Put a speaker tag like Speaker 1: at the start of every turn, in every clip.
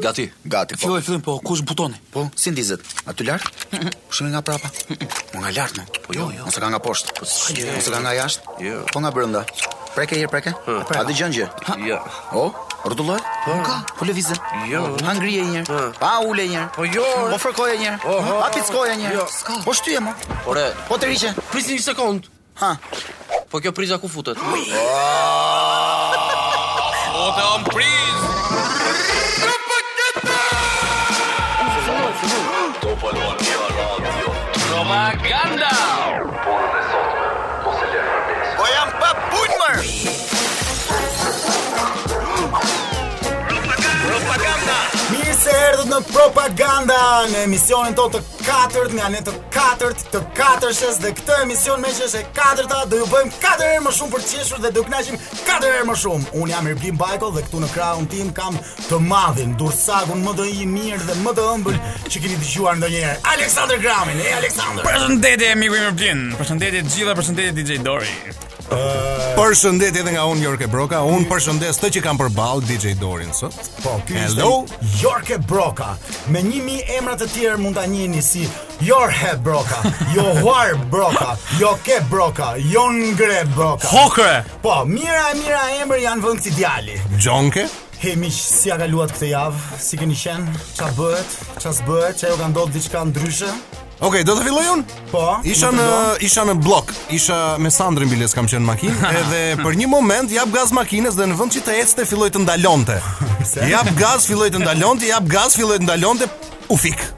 Speaker 1: Gati.
Speaker 2: Gati, po.
Speaker 3: Filloj, fillim, po, kush butoni?
Speaker 2: Po, si ndizet? Aty lart? Shihni nga prapa. Po nga lart, më. Po jo, jo. Ose ka nga poshtë. Po ose ka nga jashtë?
Speaker 1: Jo.
Speaker 2: Po nga brenda. Preke herë, preke. A dëgjon gjë?
Speaker 1: Jo.
Speaker 2: O, rrotullohet? Po ka, po lëvizën.
Speaker 1: Jo.
Speaker 2: Ha ngrije një herë.
Speaker 1: Ha.
Speaker 2: Pa ule një herë.
Speaker 1: Po jo.
Speaker 2: Po fërkoje një herë.
Speaker 1: Oho.
Speaker 2: Pa pickoje një herë.
Speaker 1: Jo.
Speaker 2: Po shtyje më.
Speaker 1: Ore,
Speaker 2: Po të riqe.
Speaker 1: prisni një sekond.
Speaker 2: Ha.
Speaker 1: Po kjo priza ku futet?
Speaker 4: Bote on priz Propaganda
Speaker 2: Po jam pa punë më.
Speaker 5: Mirë se erdhët në propaganda në emisionin tonë të katërt, nga ne të katërt, të katërshës dhe këtë emision me që është e katërta do ju bëjmë katër herë më shumë për të qeshur dhe do kënaqim katër herë më shumë. Unë jam Erblim Bajko dhe këtu në krahun tim kam të madhin, dursagun më të i mirë dhe më të ëmbël që keni dëgjuar ndonjëherë. Aleksandër Gramin, e Aleksandër.
Speaker 6: Përshëndetje miku i Mirblin. Përshëndetje të gjitha, përshëndetje DJ Dori.
Speaker 7: Përshëndetje edhe nga unë Jorke Broka. Unë përshëndes të që kam përballë DJ Dorin sot.
Speaker 5: Po, ky është
Speaker 7: Hello?
Speaker 5: Jorke Broka. Me 1000 emra të tjerë mund ta njihni si Jorhe Broka, Johar Broka, Joke Broka, Jongre Broka.
Speaker 6: Hokre.
Speaker 5: Po, mira e mira emër janë vënë kësi djali.
Speaker 7: Gjonke?
Speaker 5: He miq, si ja kaluat këtë javë? Si keni qenë? Ça bëhet? Ça s'bëhet? Ça ju ka ndodhur diçka ndryshe?
Speaker 7: Okej, do të filloj unë?
Speaker 5: Po.
Speaker 7: Isha në isha në blok. Isha me Sandrin Biles kam qenë në makinë edhe për një moment jap gaz makinës dhe në vend që të ecte filloi të ndalonte.
Speaker 5: Se?
Speaker 7: Jap gaz filloi të ndalonte, jap gaz filloi të ndalonte, u fik.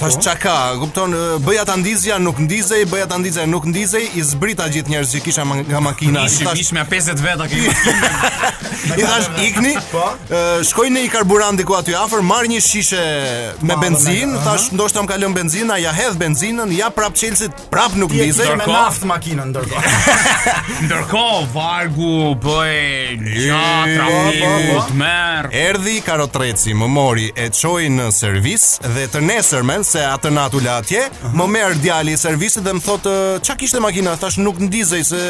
Speaker 7: Thash çka ka, kupton, e, bëja ta ndizja, nuk ndizej, bëja ta ndizja, nuk ndizej, i zbrita gjithë njerëz që kisha ma- nga makina. I
Speaker 6: Ishi
Speaker 7: thash-
Speaker 6: mish me 50 veta këtu.
Speaker 7: I thash ikni,
Speaker 5: Po.
Speaker 7: ë, shkoj në i karburanti ku aty afër, marr një shishe me
Speaker 5: Mallë,
Speaker 7: benzinë,
Speaker 5: Po, aha.
Speaker 7: thash ndoshta më ka lënë benzina, ja hedh benzinën, ja prap Chelsea, prap nuk
Speaker 5: Ti e kishe
Speaker 7: dizej.
Speaker 5: me
Speaker 6: ndërkohë-
Speaker 5: naftë makinën ndërkohë.
Speaker 6: Ndërkohë vargu bëj gjatë
Speaker 7: E,
Speaker 5: po, po,
Speaker 6: trafikut
Speaker 5: po.
Speaker 6: merr.
Speaker 7: Erdi karotreci, më mori e çoi në servis dhe të nesërmen se atë natë ula atje, më merr djali i servisit dhe më thotë "Ë, çka kishte makina, thash nuk ndizej se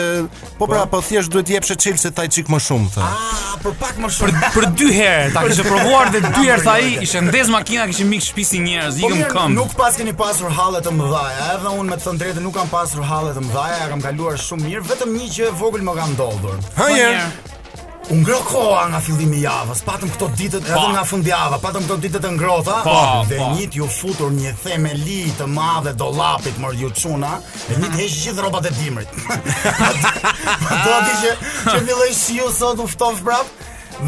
Speaker 7: po pra po thjesht duhet jepshe Chelsea taj çik më shumë tha.
Speaker 5: Ah, për pak më
Speaker 6: Për
Speaker 5: shumë.
Speaker 6: për dy herë ta kishte provuar dhe dy herë tha ai, ishte ndez makina, kishin mik shtëpisi njerëz,
Speaker 5: Po
Speaker 6: ikëm
Speaker 5: mirë,
Speaker 6: këmbë.
Speaker 5: nuk pas keni pasur halle të mëdha. Edhe unë me të thënë drejtën nuk kam pasur halle të mëdha, ja kam kaluar shumë mirë, vetëm një gjë e vogël më ka ndodhur.
Speaker 6: po
Speaker 7: Hajer.
Speaker 5: U ngro koha nga fillimi i javës, patëm këto ditët edhe nga fundjava, patëm këto ditët e ngrohta
Speaker 6: Po,
Speaker 5: dhe
Speaker 6: po.
Speaker 5: njët ju futur një themeli të madhe dollapit mor ju çuna, dhe njët heq gjithë rrobat e dimrit. Do ti që që filloi shiu sot u ftof prap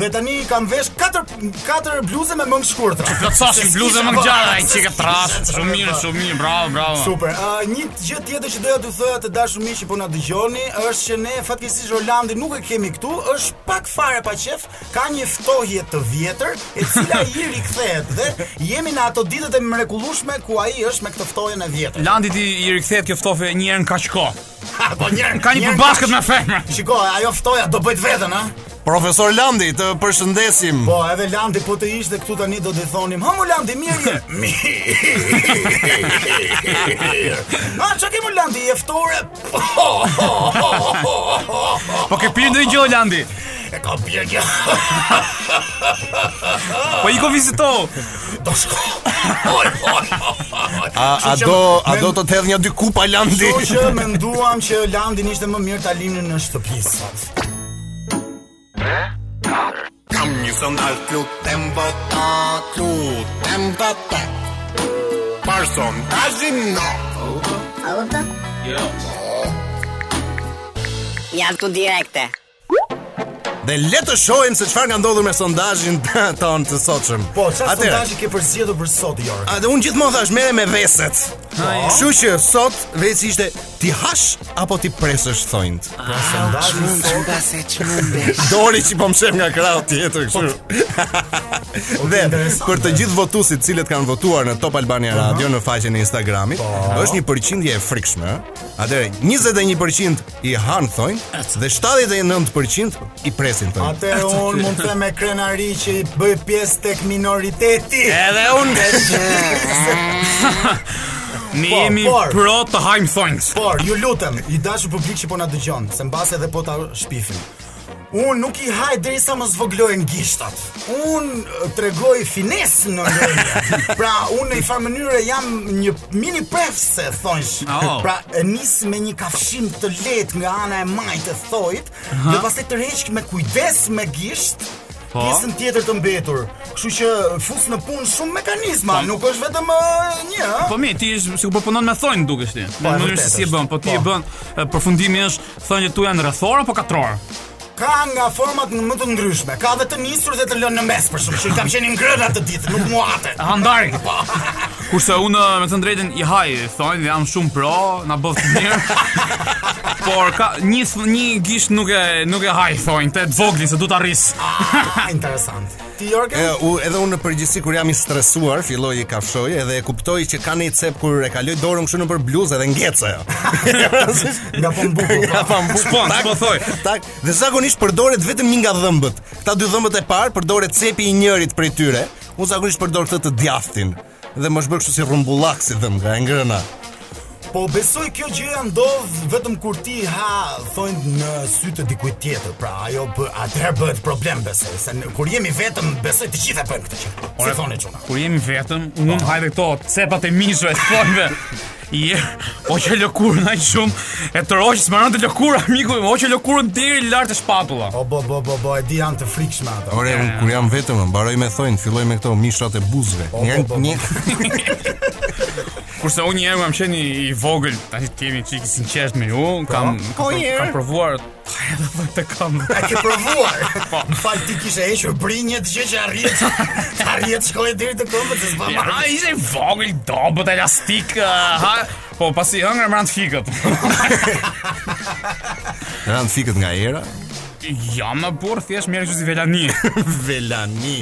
Speaker 5: dhe tani kam vesh 4 4 bluze me mëngë shkurtra.
Speaker 6: Plotsash
Speaker 5: Se
Speaker 6: bluzë
Speaker 5: s'kisha
Speaker 6: më
Speaker 5: bërë,
Speaker 6: ngjarë ai
Speaker 5: se
Speaker 6: çike
Speaker 5: s'kisha
Speaker 6: trash.
Speaker 5: çfarë
Speaker 6: Shumë mirë,
Speaker 5: bërë.
Speaker 6: shumë mirë, bravo, bravo.
Speaker 5: Super. Uh, një gjë tjetër që doja t'ju thoja të dashur miq që po na dëgjoni është që ne fatkeqësisht Rolandi nuk e kemi këtu, është pak fare pa qef, ka një ftohje të vjetër e cila i rikthehet dhe jemi në ato ditët e mrekullueshme ku ai është me këtë ftohjen e vjetër.
Speaker 6: Landi ti i rikthehet kjo ftofe një herë në kaq kohë.
Speaker 5: po njërë,
Speaker 6: Ka një përbashkët me femra.
Speaker 5: Shiko, ajo ftoja do bëjt veten, ha?
Speaker 7: Profesor Landi, të përshëndesim.
Speaker 5: Po, edhe Landi po të ishte këtu tani do t'i thonim, "Ha mu Landi, mirë je." Mirë. Ha, "Ah, çka ke mu Landi, je ftore?
Speaker 6: Po ke pirë ndonjë gjë Landi?
Speaker 5: E ka bjerë kjo.
Speaker 6: Po i ko vizito.
Speaker 5: Do shko. Oj, oj, oj.
Speaker 7: A, a
Speaker 5: Kështu që
Speaker 7: do a
Speaker 5: men-
Speaker 7: do të të hedh një dy kupa Landi?
Speaker 5: Kështu që menduam që Landin ishte më mirë ta linin në shtëpi sot.
Speaker 8: Kam një sandal lutem vota, lutem vota Për sondazhin no
Speaker 9: A kupton? Jo. Ja këtu direkte.
Speaker 7: Dhe le të shohim se çfarë ka ndodhur me sondazhin ton të sotshëm.
Speaker 5: Po, çfarë
Speaker 7: Atëherë, Ah,
Speaker 5: sondazhi ke përzgjedhur për sot, Jorg?
Speaker 7: A dhe unë gjithmonë thash merre me veset. Kështu që sot veci ishte ti hash apo ti presësh thonjt.
Speaker 5: Sondazhi sot.
Speaker 7: Dori që po mshef nga krau tjetër kështu. Dhe për të gjithë votuesit të cilët kanë votuar në Top Albania Radio në faqen e Instagramit, është një përqindje e frikshme. ë? Atëherë 21% i han thonjt dhe 79% i presin thonjt.
Speaker 5: Atëherë unë mund të them me krenari që i bëj pjesë tek minoriteti.
Speaker 6: Edhe unë. Ne
Speaker 5: Po,
Speaker 6: jemi
Speaker 5: por-
Speaker 6: pro të hajmë thonjtë.
Speaker 5: Por, ju lutem, i dashur publik që po na dëgjon, se mbase edhe po ta shpifim. Unë nuk i haj derisa më zvoglojnë gishtat. Unë eh, tregoj finesë në lojë. pra, unë në një farë mënyrë jam një mini prefse, thonjsh.
Speaker 6: Oh.
Speaker 5: Pra, e nis me një kafshim të lehtë nga ana e majt e thojt, dhe pastaj tërheq me kujdes me gisht. Pjesën tjetër të mbetur. Kështu që fus në punë shumë mekanizma, nuk është vetëm eh, një. ëh.
Speaker 6: Po mi, ti ish sikur po punon me thonjë dukesh ti. Në
Speaker 5: e
Speaker 6: mënyrë
Speaker 5: vërtet
Speaker 6: se si e
Speaker 5: është.
Speaker 6: bën, po ti
Speaker 5: Po.
Speaker 6: e bën e, përfundimi është thonjët tu janë rrethor apo katror?
Speaker 5: Ka nga format në më të ndryshme. Ka dhe të nisur dhe të lënë në mes për shkak që kam qenë ngrënë atë ditë, nuk muate.
Speaker 6: Handari.
Speaker 5: Po.
Speaker 6: Kurse unë me të drejtën i haj thonjë dhe jam shumë pro, na bëv të mirë. Por ka një th- një gisht nuk e nuk e haj thonjë, të vogli se du ta rris.
Speaker 5: Ah, interesant. Ti
Speaker 7: E,
Speaker 5: Jorgen?
Speaker 7: u, edhe unë në përgjithësi kur jam i stresuar, filloj i kafshoj edhe e kuptoj që ka një cep kur e kaloj dorën kështu nëpër bluzë edhe ngjeca ajo.
Speaker 5: Nga po mbukur, po.
Speaker 7: Nga po mbukur.
Speaker 6: Spon,
Speaker 7: tak,
Speaker 6: po thoj.
Speaker 7: Tak, dhe zakonisht përdoret vetëm një nga dhëmbët. Këta dy dhëmbët e parë përdoret cepi i njërit prej tyre. Unë zakonisht përdor këtë të djathtin dhe më shbër kështu si rrumbullak si dhëmë nga e ngrëna.
Speaker 5: Po besoj kjo gjë ndodh vetëm kur ti ha thonjë në sy të dikujt tjetër. Pra ajo bë, atëherë bëhet problem besoj, se në, kur jemi vetëm besoj të gjithë e bëjmë këtë gjë. Si thonë çuna.
Speaker 6: Kur jemi vetëm, unë mund hajde këto cepat e mishëve të thonjve. Je, o që lëkurë na shumë E të roqë, smaron të lëkurë, amiku im, O që lëkurë deri lartë e shpatula
Speaker 5: O bo bo bo bo, e di janë të frikshme ato.
Speaker 7: Ore, unë kur jam vetëm, më mbaroj me thojnë, filloj me këto mishrat e buzëve. Një,
Speaker 5: po, po, po.
Speaker 7: një,
Speaker 6: Kurse unë një herë kam qenë i- i vogël, tani ti jemi çik i sinqert me ju, kam
Speaker 7: Po,
Speaker 6: kam,
Speaker 7: një herë.
Speaker 6: kam provuar edhe të kam.
Speaker 5: A ke provuar?
Speaker 7: Po.
Speaker 5: Më fal ti kishe hequr brinjë të gjë që arrihet. Arrihet shkoi deri te këmbët të zbama.
Speaker 6: Ja, ishte i vogël, dobët, elastik, uh, ha, po pasi hëngra më rand fikët.
Speaker 7: Ran fikët nga era.
Speaker 6: ja, më burr thjesht merr kështu si velani.
Speaker 7: Velani.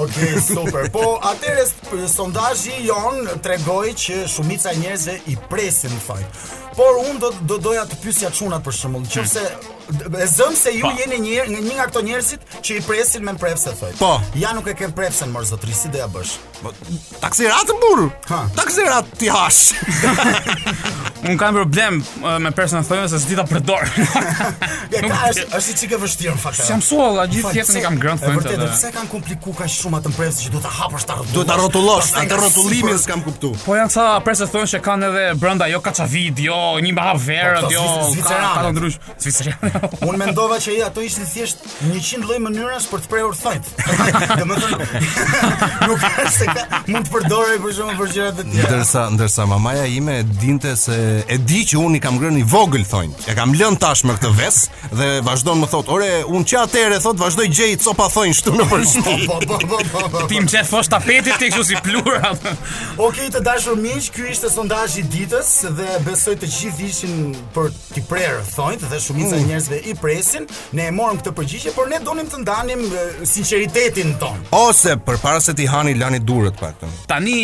Speaker 5: Okej, super. Po, atëre s- sondazhi jon tregoi që shumica e njerëzve i presin thonjë. Por unë do do doja të pyesja çunat për shembull, nëse e zëm se ju
Speaker 6: Pa.
Speaker 5: jeni një nga një nga këto njerëzit që i presin me prepse thoj.
Speaker 7: Po.
Speaker 5: Ja nuk e ke prepsen mor zotri, si do ja bësh?
Speaker 7: Taksirat burr.
Speaker 5: Ha.
Speaker 7: Taksirat ti hash.
Speaker 6: Un kam problem uh, me personal thonjën se s'di ta përdor.
Speaker 5: Ja,
Speaker 6: Nuk
Speaker 5: ka
Speaker 6: di.
Speaker 5: është është i çike vështirë në fakt. ajo.
Speaker 6: Jam suolla gjithë
Speaker 5: Fal,
Speaker 6: jetën
Speaker 5: pse-
Speaker 6: i kam grënë
Speaker 5: e Vërtet,
Speaker 6: thonjën.
Speaker 5: pse kanë kompliku kaq shumë atë presë që duhet ta hapësh ta rrotullosh.
Speaker 7: Duhet ta rrotullosh,
Speaker 5: Pastaj
Speaker 7: atë
Speaker 5: nga
Speaker 7: rrotullimin
Speaker 5: sipër-
Speaker 7: s'kam kuptu.
Speaker 6: Po janë ca presë thonjë që kanë edhe brenda jo kaçavid, jo një bahaverë,
Speaker 5: Po, këto
Speaker 6: jo ka ka jo. të
Speaker 5: Zvi- Zviceranët.
Speaker 6: ndrysh. Zviceran.
Speaker 5: Unë mendova që i ato ishin thjesht 100 lloj mënyrash për të prerur thonjt. Domethënë nuk është se ka, mund të përdorej për shkakun për gjëra të tjera.
Speaker 7: Ndërsa ndërsa mamaja ime e dinte se e di që unë i kam ngrënë i vogël thonë. E kam lënë tash me këtë ves dhe vazhdon më thot, "Ore, unë që atëre thot vazhdoj gjej copa thonë shtu në për
Speaker 5: Po,
Speaker 7: shtëpi."
Speaker 5: po, po, po, po, po.
Speaker 6: Ti më qenë fosh tapetit ti kështu si plura.
Speaker 5: Okej, të dashur miq, ky ishte sondazhi i ditës dhe besoj të gjithë ishin për t'i prerë thonjt dhe shumica e njerëzve i presin. Ne e morëm këtë përgjigje, por ne donim të ndanim e, sinqeritetin ton.
Speaker 7: Ose përpara se ti hani lani durët paktën.
Speaker 6: Tani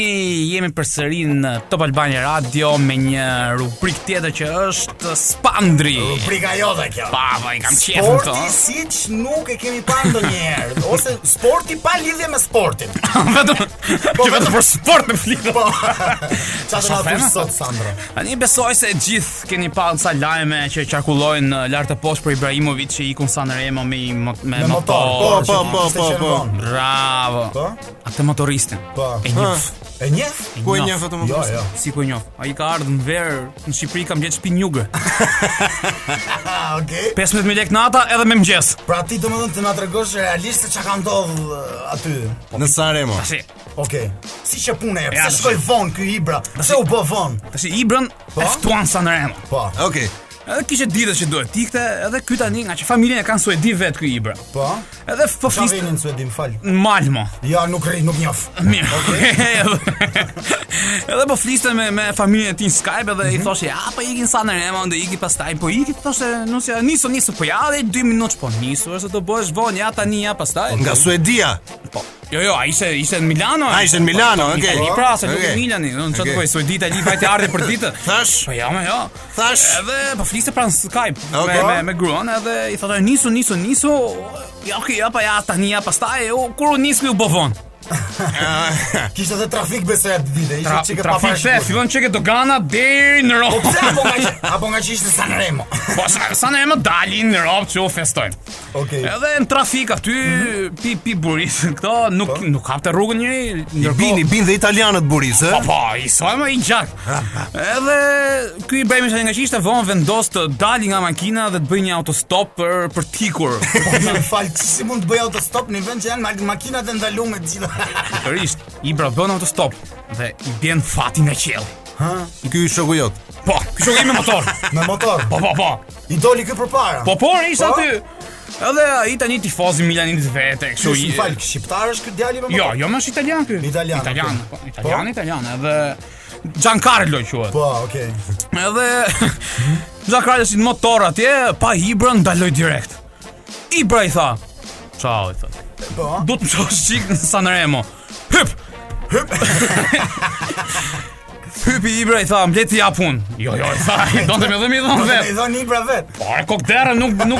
Speaker 6: jemi përsëri në Top Albania Radio me një rubrik tjetër që është Spandri.
Speaker 5: Rubrika jote kjo.
Speaker 6: Pa, pa, i kam qefën këto.
Speaker 5: Sporti siç nuk e kemi parë ndonjëherë, ose sporti pa lidhje me sportin.
Speaker 6: Vetëm që vetëm për sport me flitë.
Speaker 5: Po. Qa të na
Speaker 6: Shofema?
Speaker 5: thush sot Sandro?
Speaker 6: Tani besoj se gjithë keni pa disa lajme që qarkullojnë në lart të poshtë për Ibrahimovic që ikun sa në Remo me me, me
Speaker 5: Me motor.
Speaker 6: motor.
Speaker 7: po, po,
Speaker 5: ishte
Speaker 7: po,
Speaker 5: që
Speaker 7: po.
Speaker 5: vonë.
Speaker 6: Bravo.
Speaker 5: Po?
Speaker 6: Atë motoristin.
Speaker 5: Po.
Speaker 6: E njëf.
Speaker 5: E njeh?
Speaker 7: Ku e njeh vetëm
Speaker 5: Jo,
Speaker 7: motoristin?
Speaker 5: jo.
Speaker 6: Si ku e njoh. Ai ka ardhur në verë në Shqipëri kam gjetë shtëpi njugë.
Speaker 5: Ah, okay.
Speaker 6: 15000 lekë nata edhe me mëngjes.
Speaker 5: Pra ti domethënë të na tregosh realisht se çka ka ndodh eh, aty.
Speaker 7: Në Sanremo.
Speaker 6: Tashi,
Speaker 5: Okej. Si që punë e,
Speaker 6: Ja,
Speaker 5: pse shkoi vonë ky Ibra? Pse u bë vonë?
Speaker 6: tashi Ibrën e ftuan Sanremo.
Speaker 5: Po.
Speaker 7: Okej.
Speaker 6: Edhe kishte ditët që duhet ikte, edhe ky tani nga që familjen e kanë suedi vet ky Ibra.
Speaker 5: Po.
Speaker 6: Edhe po
Speaker 5: Qa
Speaker 6: fliste
Speaker 5: vini në Suedi, më fal.
Speaker 6: në Malmo.
Speaker 5: Ja, nuk rri, nuk njoh.
Speaker 6: Mirë. edhe po fliste me me familjen e tij në Skype edhe
Speaker 7: Mhm.
Speaker 6: i thoshte, "Ja, po ikin Sanremo, do iki pastaj." Po iki thoshte, "Nusi, nisu, nisu, po ja, edhe 2 minutë po nisu, ose do bësh vonë, ja tani, ja pastaj."
Speaker 7: Nga Suedia.
Speaker 6: Po. Jo, jo, ai ishte ishte në Milano.
Speaker 7: A, ishte në Milano,
Speaker 6: Po,
Speaker 7: okej.
Speaker 6: Itali pra, se nuk
Speaker 7: Okej.
Speaker 6: në Milani, do të
Speaker 7: Okej.
Speaker 6: thotë Suedi Itali vajte ardhe për ditë.
Speaker 7: Thash?
Speaker 6: Po ja, më jo.
Speaker 7: Thash?
Speaker 6: Edhe po fliste pra në Skype
Speaker 7: Okej.
Speaker 6: me me me gruan edhe i thotë nisu, nisu, nisu. Ja, okay, ja, pa ja tani ja pastaj, u kur u nis këtu bovon.
Speaker 7: ah,
Speaker 5: Kishte edhe trafik besoj atë ditë, ishte çike pa
Speaker 6: Trafik jo- se, fillon çike dogana deri në Rom.
Speaker 5: Pse apo nga që, apo nga që ishte Sanremo.
Speaker 6: Po sa, sa ne më dalin në Rom që u festojmë.
Speaker 5: Okej.
Speaker 6: Edhe në trafik aty pi pi buris këto nuk nuk hapte rrugën njëri. ndërkohë-
Speaker 7: Bini, bin dhe italianët burisë,
Speaker 6: Po po, i soj më i gjak. Edhe ky Ibrahim ishte nga që ishte vonë vendos të dali nga makina dhe të bëj një autostop për për tikur.
Speaker 5: Po më fal, që si mund të bëj autostop në vend që janë mak- makinat e ndaluara të gjitha.
Speaker 6: Pikërisht, Ibra bën autostop dhe i bjen fati nga qielli.
Speaker 7: Ky shoku jot.
Speaker 6: Po, ky shoku me motor.
Speaker 5: Me motor.
Speaker 6: Po po po.
Speaker 5: I doli ky përpara.
Speaker 6: Po por ishte
Speaker 5: Po?
Speaker 6: aty. Edhe ai tani tifoz i Milanit vete, kështu.
Speaker 5: Kështu i
Speaker 6: i-
Speaker 5: fal, shqiptar është ky djali me motor.
Speaker 6: Jo, jo, më është italian ky.
Speaker 5: Italian,
Speaker 6: Italian,
Speaker 5: okay.
Speaker 6: po, italian, italian, edhe Giancarlo quhet.
Speaker 5: Po, okay.
Speaker 6: Edhe Giancarlo si në motor atje, pa Ibra ndaloi direkt. Ibra i tha, "Ciao", i tha.
Speaker 5: Po.
Speaker 6: Do të më shosh çik në Sanremo. Hyp. Hyp. Hypi Ibra i tha, "Mblet i jap unë." Jo, jo, i tha, "I donte më dhe më dhon
Speaker 5: Ne i
Speaker 6: vet."
Speaker 5: dhon Ibra vet.
Speaker 6: Po, e kok derën, nuk nuk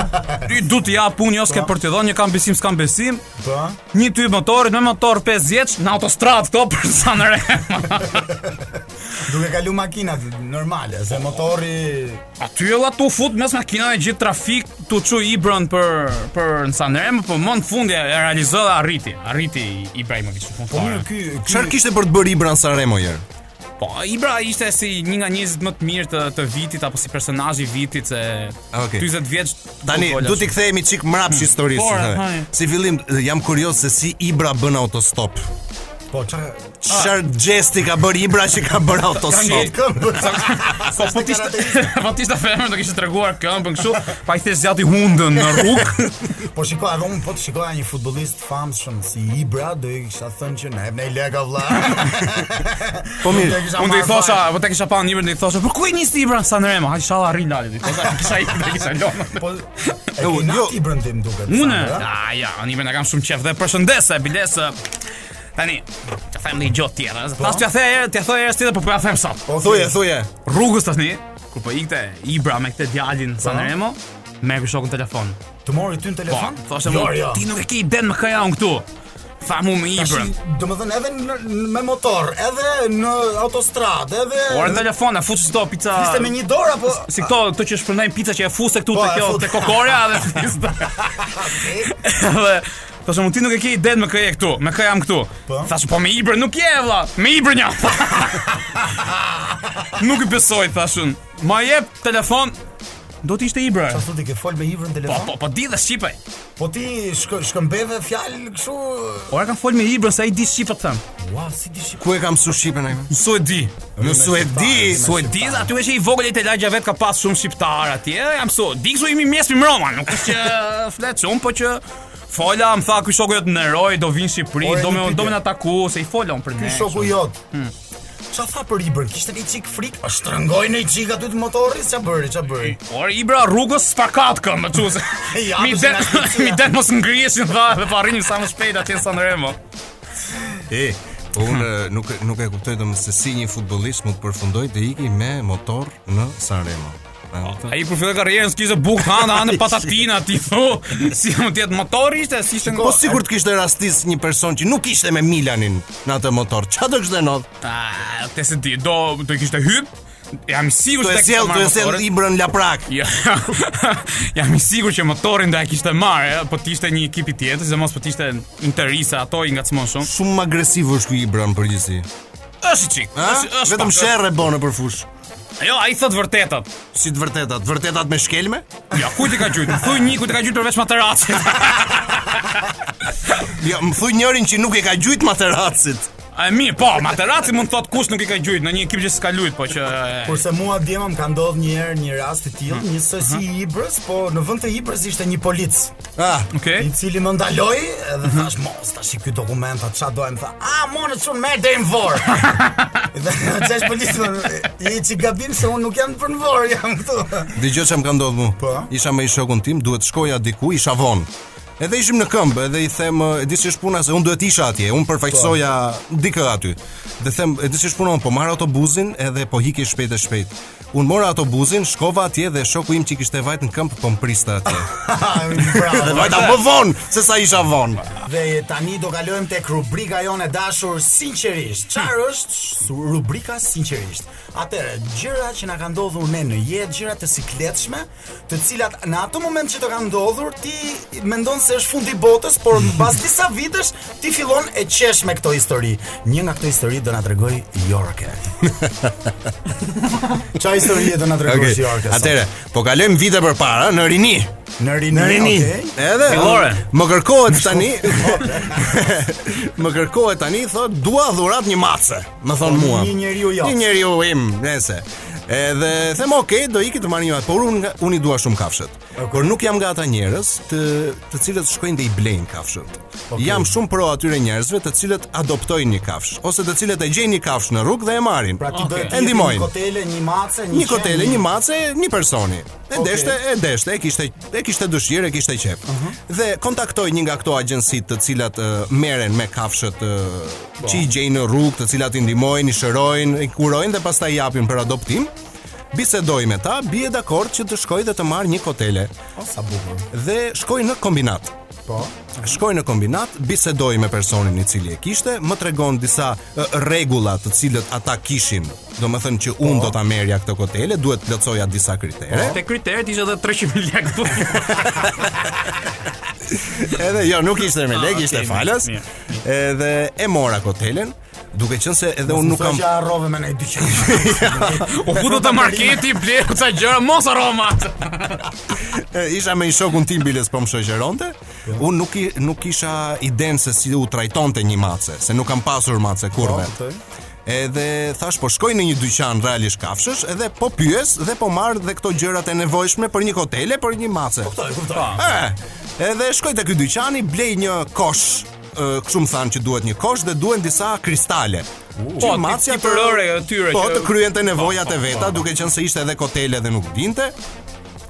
Speaker 6: i du të jap unë, jo s'ke për të dhënë, një kam besim, s'kam besim.
Speaker 5: Po.
Speaker 6: Një ty motorit me motor 5 vjeç në autostradë këto për Sanremo.
Speaker 5: Duke kalu makinat normale, se motori
Speaker 6: Aty e la tu fut mes makinave gjithë trafik tu çu Ibrën për për në Sanremo, po më në fund e e realizoi dhe arriti. Arriti Ibrahimovic në fund.
Speaker 5: Po mirë
Speaker 6: fare.
Speaker 5: ky
Speaker 7: Çfarë kishte për të bërë Ibra në Sanremo herë?
Speaker 6: Po Ibra ishte si një nga njerëzit më të mirë të, të vitit apo si personazh i vitit se
Speaker 7: Okej.
Speaker 6: 40 vjeç
Speaker 7: Tani
Speaker 6: futbola
Speaker 7: do t'i
Speaker 6: shumë.
Speaker 7: kthehemi çik mrapsh historisë.
Speaker 6: Por,
Speaker 7: thë.
Speaker 6: haj.
Speaker 7: Si fillim jam kurioz se si Ibra bën autostop.
Speaker 5: po çfarë
Speaker 7: Çfarë gesti ka bër Ibra që ka bër autostop?
Speaker 5: këmbë.
Speaker 6: Po po tishte po tishte femër do kishte treguar këmbën kështu, pa i thënë zjati hundën në rrugë.
Speaker 5: Po shikoj, edhe unë po të shikoja një futbollist famshëm si Ibra, do i kisha thënë që ne ne lega vlla.
Speaker 7: Po mirë,
Speaker 6: Unë do i thosha, po te kisha pa një do i thosha, "Për ku e nisi Ibra në Sanremo? Ha inshallah arrin lali." Do i thosha, kisha i do kisha lënë.
Speaker 5: po e
Speaker 7: Jo,
Speaker 5: kena
Speaker 7: jo.
Speaker 5: ti Ibrën tim duket.
Speaker 6: Unë,
Speaker 5: Sandra, a?
Speaker 6: a ja, unë më kam shumë qef dhe përshëndes e biles. e, Tani, të them një gjë tjetër. Pas t'ja thej herë, t'ja thoj herë tjetër, po po ja them sot.
Speaker 5: Po
Speaker 7: thuje, thuje.
Speaker 6: Rrugës tani, kur po ikte Ibra me këtë djalin Sanremo, me ky shokun telefon.
Speaker 5: Të mori ty në
Speaker 6: Po,
Speaker 5: telefon? Jo,
Speaker 6: thoshte mu, ti nuk e ke iden më këja unë këtu. Tha mu me Ibrën.
Speaker 5: Domethënë edhe në, në- me motor, edhe në autostradë, edhe
Speaker 6: Ora telefon, e fut çdo pica.
Speaker 5: Ishte me një dorë apo
Speaker 6: Si këto, këto që shpërndajnë pica që e fuse këtu
Speaker 5: Po,
Speaker 6: te
Speaker 5: e
Speaker 6: kjo
Speaker 5: fut.
Speaker 6: te kokorea dhe fliste. Dhe Thashë mu ti nuk e ke iden me këje këtu, me këja jam këtu.
Speaker 5: Po.
Speaker 6: Thashë po me Ibrën nuk je vlla, me Ibrën jam. nuk i besoj thashun. Ma jep telefon. Do të ishte Ibra.
Speaker 5: Ashtu ti Po, ke fol me Ibrën
Speaker 6: Po
Speaker 5: në telefon?
Speaker 6: po po di dhe shqipej.
Speaker 5: Po ti shkë, shkëmbeve fjalë kështu.
Speaker 6: Ora kam fol me Ibrën se ai di shqipë të them.
Speaker 5: Ua, si ti shqip.
Speaker 7: Ku e kam sushipen ai?
Speaker 6: Su e di.
Speaker 7: Në Suedi.
Speaker 6: Suediz aty është i vogël i te lagja vet ka pas shumë shqiptar atje. Jam so, di kështu imi mes me Roma, nuk është që flet shumë, po që fola, më tha ky shoku jot në Roj, do vinë në Shqipëri,
Speaker 5: Ore,
Speaker 6: do
Speaker 5: një
Speaker 6: më
Speaker 5: pyetje.
Speaker 6: do më na taku se i folon për ne.
Speaker 5: Ky shoku jot.
Speaker 6: Hmm.
Speaker 5: Qa tha për Ibrën? Kishte një çik frikë? A shtrëngoi në çik aty të motorit? Qa bëri? Qa bëri?
Speaker 6: Ore Ibra rrugës sparkat këmbë, çuze.
Speaker 5: Ja,
Speaker 6: Mi
Speaker 5: po,
Speaker 6: den,
Speaker 5: si nga shpejtësia.
Speaker 6: mi den mos ngrihesin dha, dhe po arrini sa më shpejt atje në Sanremo.
Speaker 7: E, unë nuk nuk e kuptoj domun se si një futbollist mund të përfundoj të iki me motor në Sanremo. E kupton?
Speaker 6: Ai kur filloi karrierën s'kishte bukë hanë, hanë patatina ti thu, si mund të jetë motori ishte, si ishte
Speaker 7: Po sigur të kishte rastis një person që nuk ishte me Milanin në atë motor. Çfarë do kishte ndodh?
Speaker 6: Ah, te se di, do do kishte hyp. Jam i sigurt
Speaker 7: Do e
Speaker 6: se
Speaker 7: sjell, do e sjell
Speaker 6: motorin.
Speaker 7: Ibrën laprak.
Speaker 6: Ja. Jam i sigurt që motorin do e kishte marrë, eh, po të ishte një ekip i tjetër, sidomos po të ishte interisa ato i ngacmon shumë.
Speaker 7: Shumë agresiv është ky Ibra në përgjithësi.
Speaker 6: Është i çik.
Speaker 7: Ha?
Speaker 6: Është është
Speaker 7: Vetëm
Speaker 6: pak-
Speaker 7: sherrë e bën nëpër fush.
Speaker 6: Jo, ai thot vërtetat.
Speaker 7: Si të vërtetat, vërtetat me shkelme?
Speaker 6: Ja, kujt i ka gjyt? Thuj një kujt i ka gjyt përveç materacit.
Speaker 7: Jo, më thuj njërin që nuk e ka gjujt materacit.
Speaker 6: A e mirë, po, materaci mund thot kush nuk i ka gjyt në një ekip që s'ka lujt, po që
Speaker 5: Kurse mua djema më ka ndodhur një herë një rast të tillë, njësoj si i Ibrës, po në vend të Ibrës ishte një polic,
Speaker 7: Ah,
Speaker 6: Okej.
Speaker 5: i cili më ndaloi dhe thash mos tash i ky dokumenta ç'a do më tha, "A mone çun merr deri në vor." Dhe çesh polic, i çi gabim se unë nuk jam për në vor, jam këtu.
Speaker 7: Dhe gjë që më ka ndodhur mu
Speaker 5: Po?
Speaker 7: Isha me i shokun tim, duhet shkoja diku, isha vonë Edhe ishim në këmbë, edhe i them, e di si është puna se unë duhet isha atje, unë përfaqësoja dikë aty. Dhe them, e di si është puna, unë po marr autobusin edhe po hikej shpejt e shpejt. Unë mora autobusin, shkova atje dhe shoku im që kishte vajt në këmbë po më priste atje.
Speaker 5: Bravo.
Speaker 7: Dhe vajta më vonë se sa isha vonë.
Speaker 5: Dhe tani do kalojmë tek rubrika jonë e dashur sinqerisht.
Speaker 7: Hmm.
Speaker 5: Çfarë është su- rubrika sinqerisht? Atëre, gjëra që na kanë ndodhur ne në jetë, gjëra të sikletshme, të cilat në atë moment që të kanë ndodhur, ti mendon se është fundi i botës, por mbas disa vitesh ti fillon e qesh me këto histori. Një nga këto histori do na tregoj Jorke. Çfarë historie do na tregosh
Speaker 7: Okej.
Speaker 5: okay. Jorke? sot?
Speaker 7: Atëre, po kalojmë vite përpara në Rini.
Speaker 5: në Rini,
Speaker 7: Në Rini.
Speaker 5: okay.
Speaker 7: Edhe
Speaker 6: Fillore.
Speaker 7: Më kërkohet tani. më kërkohet tani thot dua dhurat një mace. Më thon mua.
Speaker 5: Po, një njeriu jot.
Speaker 7: Një njeriu im, nëse. Edhe them okay, do iki të marr një mace, por unë nga- unë i dua shumë kafshët. Por nuk jam nga ata njerëz të të cilët shkojnë dhe i blejnë kafshët. Jam shumë pro atyre njerëzve të cilët adoptojnë një kafsh ose të cilët e gjejnë një kafsh në rrugë dhe e marrin.
Speaker 5: Pra ti do të
Speaker 7: e
Speaker 5: jepi një
Speaker 7: ndihmojnë.
Speaker 5: kotele, një mace, një,
Speaker 7: Një kotele,
Speaker 5: qen,
Speaker 7: një mace, një personi. E
Speaker 5: Okej.
Speaker 7: deshte, e deshte, e kishte e kishte dëshirë, e kishte qejf.
Speaker 5: Uh-huh.
Speaker 7: Dhe kontaktoi një nga këto agjenci të cilat uh, merren me kafshët uh, që i gjejnë në rrugë, të cilat i ndihmojnë, i shërojnë, i kurojnë dhe pastaj i japin për adoptim. Bisedoi me ta, bie dakord që të shkojë dhe të marrë një kotele
Speaker 5: O, sa bukur.
Speaker 7: dhe shkoi në kombinat.
Speaker 5: Po.
Speaker 7: Shkoj në kombinat, bisedoj me personin i cili e kishte, më tregon disa ë, rregulla të cilët ata kishin. Do më thënë që
Speaker 6: Po.
Speaker 7: unë do ta merja këtë kotele, duhet të plotësoja disa kritere.
Speaker 6: Te kriteret ishte edhe 300.000 lekë po.
Speaker 7: Edhe jo, nuk ishte me lek,
Speaker 6: Ah,
Speaker 7: ishte
Speaker 6: okay,
Speaker 7: falas.
Speaker 6: mirë,
Speaker 7: Edhe e mora kotelen, duke qenë se edhe unë nuk
Speaker 5: Sa
Speaker 7: kam
Speaker 5: që harrove me në i dyqan.
Speaker 6: U futu te marketi, ble këta gjëra mos harroma.
Speaker 7: E, isha me i shokun tim biles po më shoqëronte. Unë nuk i, nuk isha iden se si u trajtonte një mace, se nuk kam pasur mace kurve.
Speaker 5: Po, kuptoj.
Speaker 7: Edhe thash po shkoj në një dyqan realisht kafshësh edhe po pyes dhe po marr dhe këto gjërat e nevojshme për një kotele, për një mace.
Speaker 5: Kuptoj, kuptoj.
Speaker 7: E, edhe shkoj te ky dyqani, blej një kosh, e, kështu më thanë që duhet një kosh dhe duhen disa kristale.
Speaker 6: Po,
Speaker 7: Që
Speaker 6: ti-
Speaker 7: macja
Speaker 6: ti përore atyre
Speaker 7: Po,
Speaker 6: që-
Speaker 7: të kryen të nevojat
Speaker 6: Po, po,
Speaker 7: e veta,
Speaker 6: po.
Speaker 7: duke qenë se ishte edhe kotele dhe nuk dinte.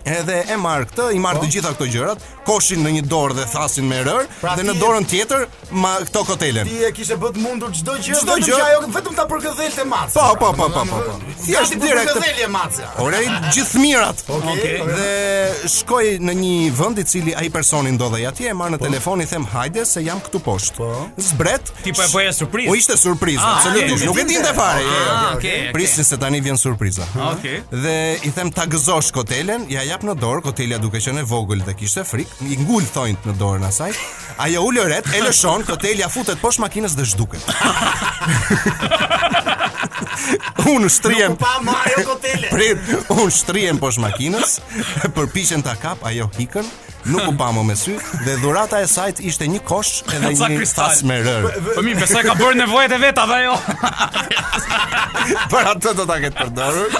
Speaker 7: Edhe e marr këtë, i
Speaker 6: Po.
Speaker 7: marr të gjitha këto gjërat, koshin në një dorë dhe thasin me rër,
Speaker 5: Pra
Speaker 7: dhe
Speaker 5: ti-
Speaker 7: në dorën tjetër ma këto kotelen.
Speaker 5: Ti e kishe bët mundur çdo gjë,
Speaker 7: Çdo
Speaker 5: vetëm
Speaker 7: gjë.
Speaker 5: që ajo vetëm ta përkëdhelte mace.
Speaker 7: Po, po, po, po, po, po. Thjesht direkt.
Speaker 5: përkëdhelje mace.
Speaker 7: Ore, gjithë mirat.
Speaker 5: Okej.
Speaker 7: Dhe shkoj në një vend i cili ai personi ndodhej atje, e marr në telefon i them hajde se jam këtu poshtë. Zbret.
Speaker 6: Ti po e bëje surprizë.
Speaker 7: U ishte surprizë,
Speaker 6: Ah,
Speaker 7: absolutisht.
Speaker 6: okay,
Speaker 7: Nuk e dinte fare. jo, jo.
Speaker 6: Ah, okay.
Speaker 7: Prisin se tani vjen surpriza.
Speaker 6: Okej.
Speaker 7: Dhe i them ta gëzosh kotelen, ja jap në dorë, kotelja duke qenë e vogël dhe kishte frikë, i ngul thonjt në dorën asaj. Ajo ul ret, e lëshon, kotelja futet poshtë makinës dhe zhduket. Unë shtrihem
Speaker 5: Pa marrë jo kotele.
Speaker 7: Prit, unë shtrihem poshtë makinës, përpiqen ta kap, ajo hikën, nuk u pamo me sy dhe dhurata e sajt ishte një kosh edhe
Speaker 6: Sa
Speaker 7: një
Speaker 6: kristal.
Speaker 7: tas me rër.
Speaker 6: Po mi, besoj ka bërë nevojat e jo? veta dhe ajo.
Speaker 7: Për atë do ta ketë përdorur.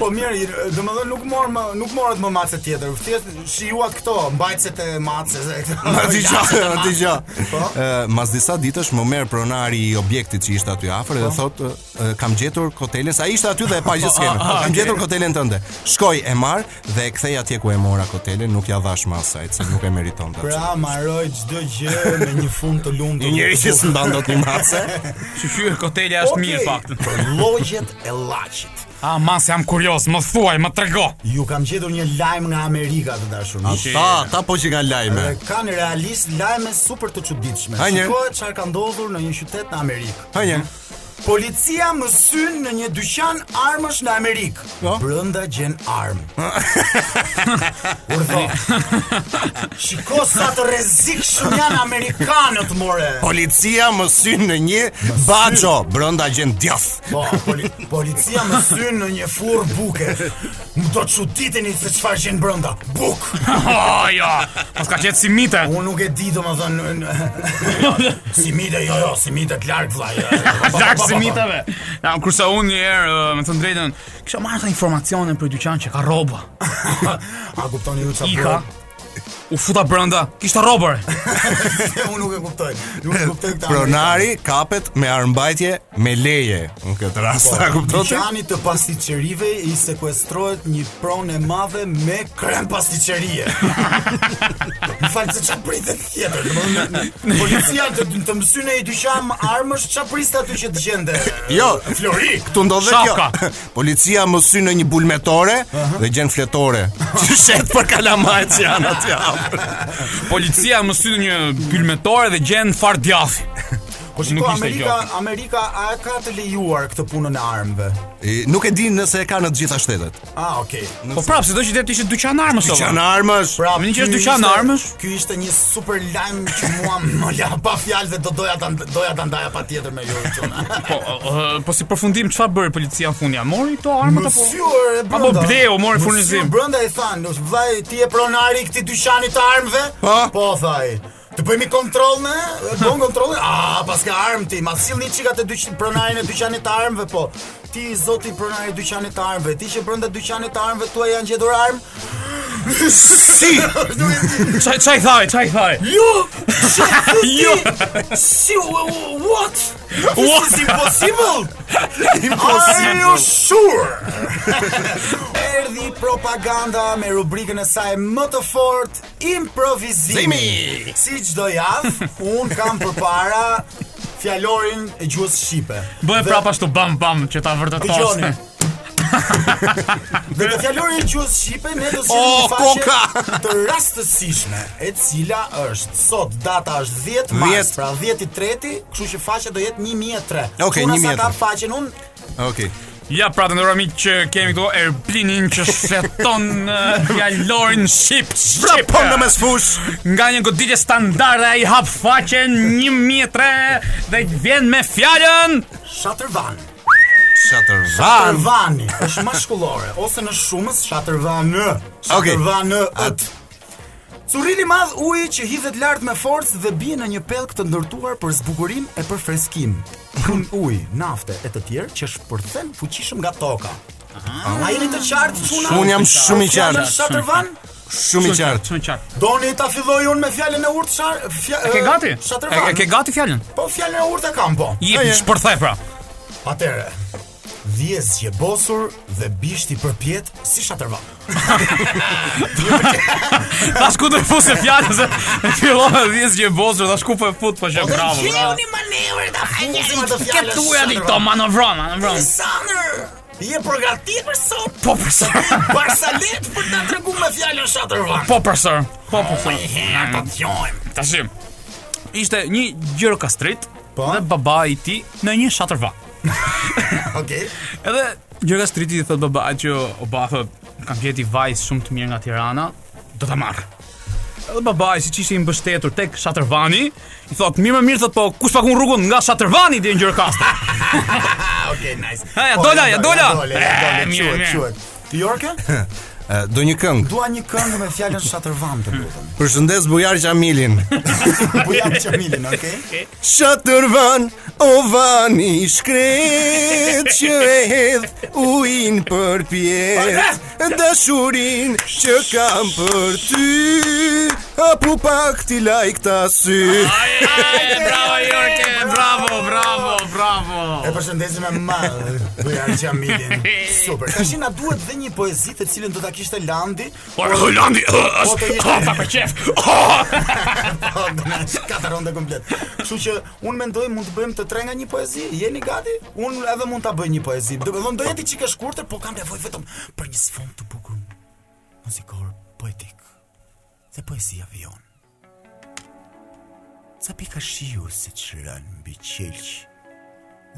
Speaker 5: Po mirë, domethënë nuk mor më, nuk morët më mace tjetër. Thjesht shijuat këto mbajtset e mace.
Speaker 7: Ma ti
Speaker 5: Ja,
Speaker 7: gjo, ma ti gjo.
Speaker 5: Po?
Speaker 7: Ë, Mas disa ditësh më merr pronari i objektit që ishte aty afër dhe thot ë, ë, kam gjetur kotelen, sa ishte aty dhe e pa gjë skenën. Kam gjetur kotelen tënde. Shkoj e marr dhe e kthej atje ku e mora kotelen, nuk ja dhash më asaj, se nuk e meritonte.
Speaker 5: Pra marroj çdo gjë me një fund të lumtur.
Speaker 7: Një njeri që s'mban dot një mace.
Speaker 6: Shqyr kotelja është mirë fakt.
Speaker 5: Llogjet e llaçit.
Speaker 6: Ah, mas jam kurioz, më thuaj, më trego.
Speaker 5: Ju kam gjetur një lajm nga Amerika të dashur miq.
Speaker 7: Ta, ta po që nga lajme.
Speaker 5: Dhe kanë realisht lajme super të çuditshme.
Speaker 7: Hajde.
Speaker 5: Shikoj çfarë ka ndodhur në një qytet në Amerikë.
Speaker 7: Hajde.
Speaker 5: Policia më syn në një dyqan armësh në Amerikë.
Speaker 7: Po?
Speaker 5: Brenda gjen armë. Urdhë. Shiko sa të rrezikshëm janë amerikanët, more.
Speaker 7: Policia më syn në një baxho brenda gjen djath.
Speaker 5: Po, poli policia më syn në një furr buke. Më do të çuditeni se çfarë gjen brenda. Buk.
Speaker 6: Oh, jo. Mos ka qetë si mite.
Speaker 5: Unë nuk e di domethënë si mite, jo jo, si mite të larg vllai. jo.
Speaker 6: Lak si miteve. Ja, kurse unë një herë, ë, me të drejtën, kisha marrë sa informacione për dyqan që ka rroba.
Speaker 5: A kuptoni ju çfarë?
Speaker 6: Ika.
Speaker 5: bëhet?
Speaker 6: U futa brenda, kishte rrobër.
Speaker 5: Unë nuk e kuptoj. Nuk e kuptoj këtë.
Speaker 7: Pronari kapet me armbajtje me leje në këtë rast, a kupton ti?
Speaker 5: Dyqani të pastiqerive i sekuestrohet një pronë e madhe me krem pastiqerie. Më falë se çfarë pritet tjetër. Domethënë policia të të mësyn e i dyqan armësh çfarë priste aty që të gjende.
Speaker 7: Jo,
Speaker 5: Flori.
Speaker 7: këtu ndodh dhe
Speaker 6: Shaka.
Speaker 7: kjo. Policia më syn në një bulmetore dhe gjen fletore. Që shet për kalamajt që janë aty afër.
Speaker 6: Policia më syn një pylmetore dhe gjen far djathi.
Speaker 5: Po shiko,
Speaker 6: Nuk ishte
Speaker 5: Amerika, Amerika a ka të lejuar këtë punën e armëve?
Speaker 7: I- Nuk e di nëse e ka në të gjitha shtetet.
Speaker 5: Ah, okay.
Speaker 6: Po prapë, se do që ishte dyqan armës. o,
Speaker 7: Dyqan
Speaker 6: valla.
Speaker 7: armësh.
Speaker 5: Pra,
Speaker 6: Më një që është
Speaker 5: ky
Speaker 6: dyqan
Speaker 5: ishte-
Speaker 6: armësh?
Speaker 5: Ky ishte një super lajm që mua më la pa fjalë dhe do doja ta doja ta ndaja patjetër me ju çuna.
Speaker 6: Po, ë, po si përfundim çfarë bëri policia në fund? Ja mori këto armët apo?
Speaker 5: Mësyur e brenda.
Speaker 6: po? Apo bleu, mori furnizim.
Speaker 5: Mësyur brenda i than, "Nëse vllai ti je pronari i këtij dyqani të armëve?"
Speaker 7: Po.
Speaker 5: Po thaj. Të bëjmë kontroll ne? E Bën kontroll? A, pas ka armë ti, ma sillni çikat e dyqanit pronarin e dyqanit të armëve, po. Ti zoti pronari i dyqanit të armëve, ti që brenda dyqanit të armëve tuaj janë gjetur armë?
Speaker 7: Si?
Speaker 6: Çaj çaj thaj, çaj thaj.
Speaker 5: Jo! Jo! Si, what? This is impossible! Are you sure? Erdi propaganda me rubrikën e saj më të fort, improvizimi. Si çdo javë, un kam përpara fjalorin e gjuhës shqipe.
Speaker 6: Bëhe
Speaker 5: Dhe-
Speaker 6: prapa ashtu bam bam që ta vërtetos.
Speaker 5: Dëgjoni. Dhe me fjalorin e gjuhës shqipe ne do sillim
Speaker 7: Oh,
Speaker 5: një faqe të rastësishme, e cila është sot data është 10 mars,
Speaker 7: 10.
Speaker 5: pra 10 i 3, kështu që faqja do jetë 1003.
Speaker 7: Okej,
Speaker 5: Unë sa
Speaker 7: 1003.
Speaker 5: ta faqen unë
Speaker 7: Okej.
Speaker 6: Ja pra të ndërëmi që kemi këtu Erblinin që shfleton ë, fjallorin shqip
Speaker 7: Pra
Speaker 6: shqip
Speaker 7: po në mes fush.
Speaker 6: Nga një goditje standarde ai hap faqen një mjetre dhe vjen me fjalën
Speaker 5: Shatërvan.
Speaker 7: Shatërvan.
Speaker 5: Shatërvani është maskullore ose në shumës Shatërvanë.
Speaker 7: Okej.
Speaker 5: Shatërvanët. Currili madh uji që hidhet lart me forcë dhe bie në një pellk të ndërtuar për zbukurim e për freskim. Pun uji, nafte e të tjerë që shpërthen fuqishëm nga toka. A jeni të qartë çuna?
Speaker 7: Unë jam shumë i
Speaker 5: Fjala
Speaker 7: qartë.
Speaker 5: Shatërvan?
Speaker 7: Shumë i qartë.
Speaker 6: Shumë qartë
Speaker 5: Doni ta filloj unë me fjalën e urtë shar... Fja,
Speaker 6: Ke gati? E
Speaker 5: Shatërvan.
Speaker 6: e ke gati fjalën?
Speaker 5: Po fjalën e urtë e kam po.
Speaker 6: Jep, shpërthej pra
Speaker 5: Atere, dhjes që bosur dhe bishti përpjet si shatërvan.
Speaker 6: Tash ku do të fusë fjalën se e fillova dhjes gjë bosur, tash ku po e fut po që bravo. bravo.
Speaker 5: Fuzim atë
Speaker 6: Ke tuja di këto manovron, manovron.
Speaker 5: Sandër, je përgatit për sot?
Speaker 6: Po për sër.
Speaker 5: Barsalet për të tregu me fjallën shatërvan.
Speaker 6: Po për sër. Po për sër.
Speaker 5: Po të jojmë.
Speaker 6: Tashim. Ishte një gjirokastrit dhe baba i ti në një shatërva.
Speaker 5: Okej.
Speaker 6: Edhe gjirokastrit i thot baba që o ba thot, kam gjeti vajzë shumë të mirë nga Tirana, do ta marr. Edhe baba i si që ishte i mbështetur tek shatërvani, i thot, mirë më mirë, thot, po, kush pakun rrugën nga shatërvani dhe në gjirokastë.
Speaker 5: Okej, nice. Po,
Speaker 6: Ha, ja, dola, ja, dola.
Speaker 5: Ja,
Speaker 6: E,
Speaker 5: dola,
Speaker 6: mirë,
Speaker 5: quhet,
Speaker 6: mirë.
Speaker 5: quhet. Ti Jorke?
Speaker 7: Eh, Do një këngë.
Speaker 5: Dua një këngë me fjallën shatërvan të Po lutëm.
Speaker 7: Përshëndes Bujar Xhamilin.
Speaker 5: Bujan Qamilin, okej?
Speaker 7: Shatërvan, o vani shkret që e hedh ujin për pjetë Dashurin që kam për ty Apu pak t'i lajk t'a sy
Speaker 6: Bravo, Jorke, bravo, bravo, bravo.
Speaker 5: E përshëndesim me madh Bujan Qamilin. Super. Tashi na duhet dhe një poezi të cilën do ta kishte Landi,
Speaker 6: Por Hollandi,
Speaker 5: Po, të jetë-
Speaker 6: është Ah, pa për qef. Ah.
Speaker 5: Po, do na shkataron dhe komplet. Kështu që unë mendoj mund të bëjmë të tre nga një poezi. Jeni gati? Unë edhe mund ta bëj një poezi. Do të thonë do jeti çike shkurtër, po kam nevojë vetëm për një sfond të bukur muzikor, poetik. Dhe poezia vion. Ca pika shiu se të shërën mbi qelq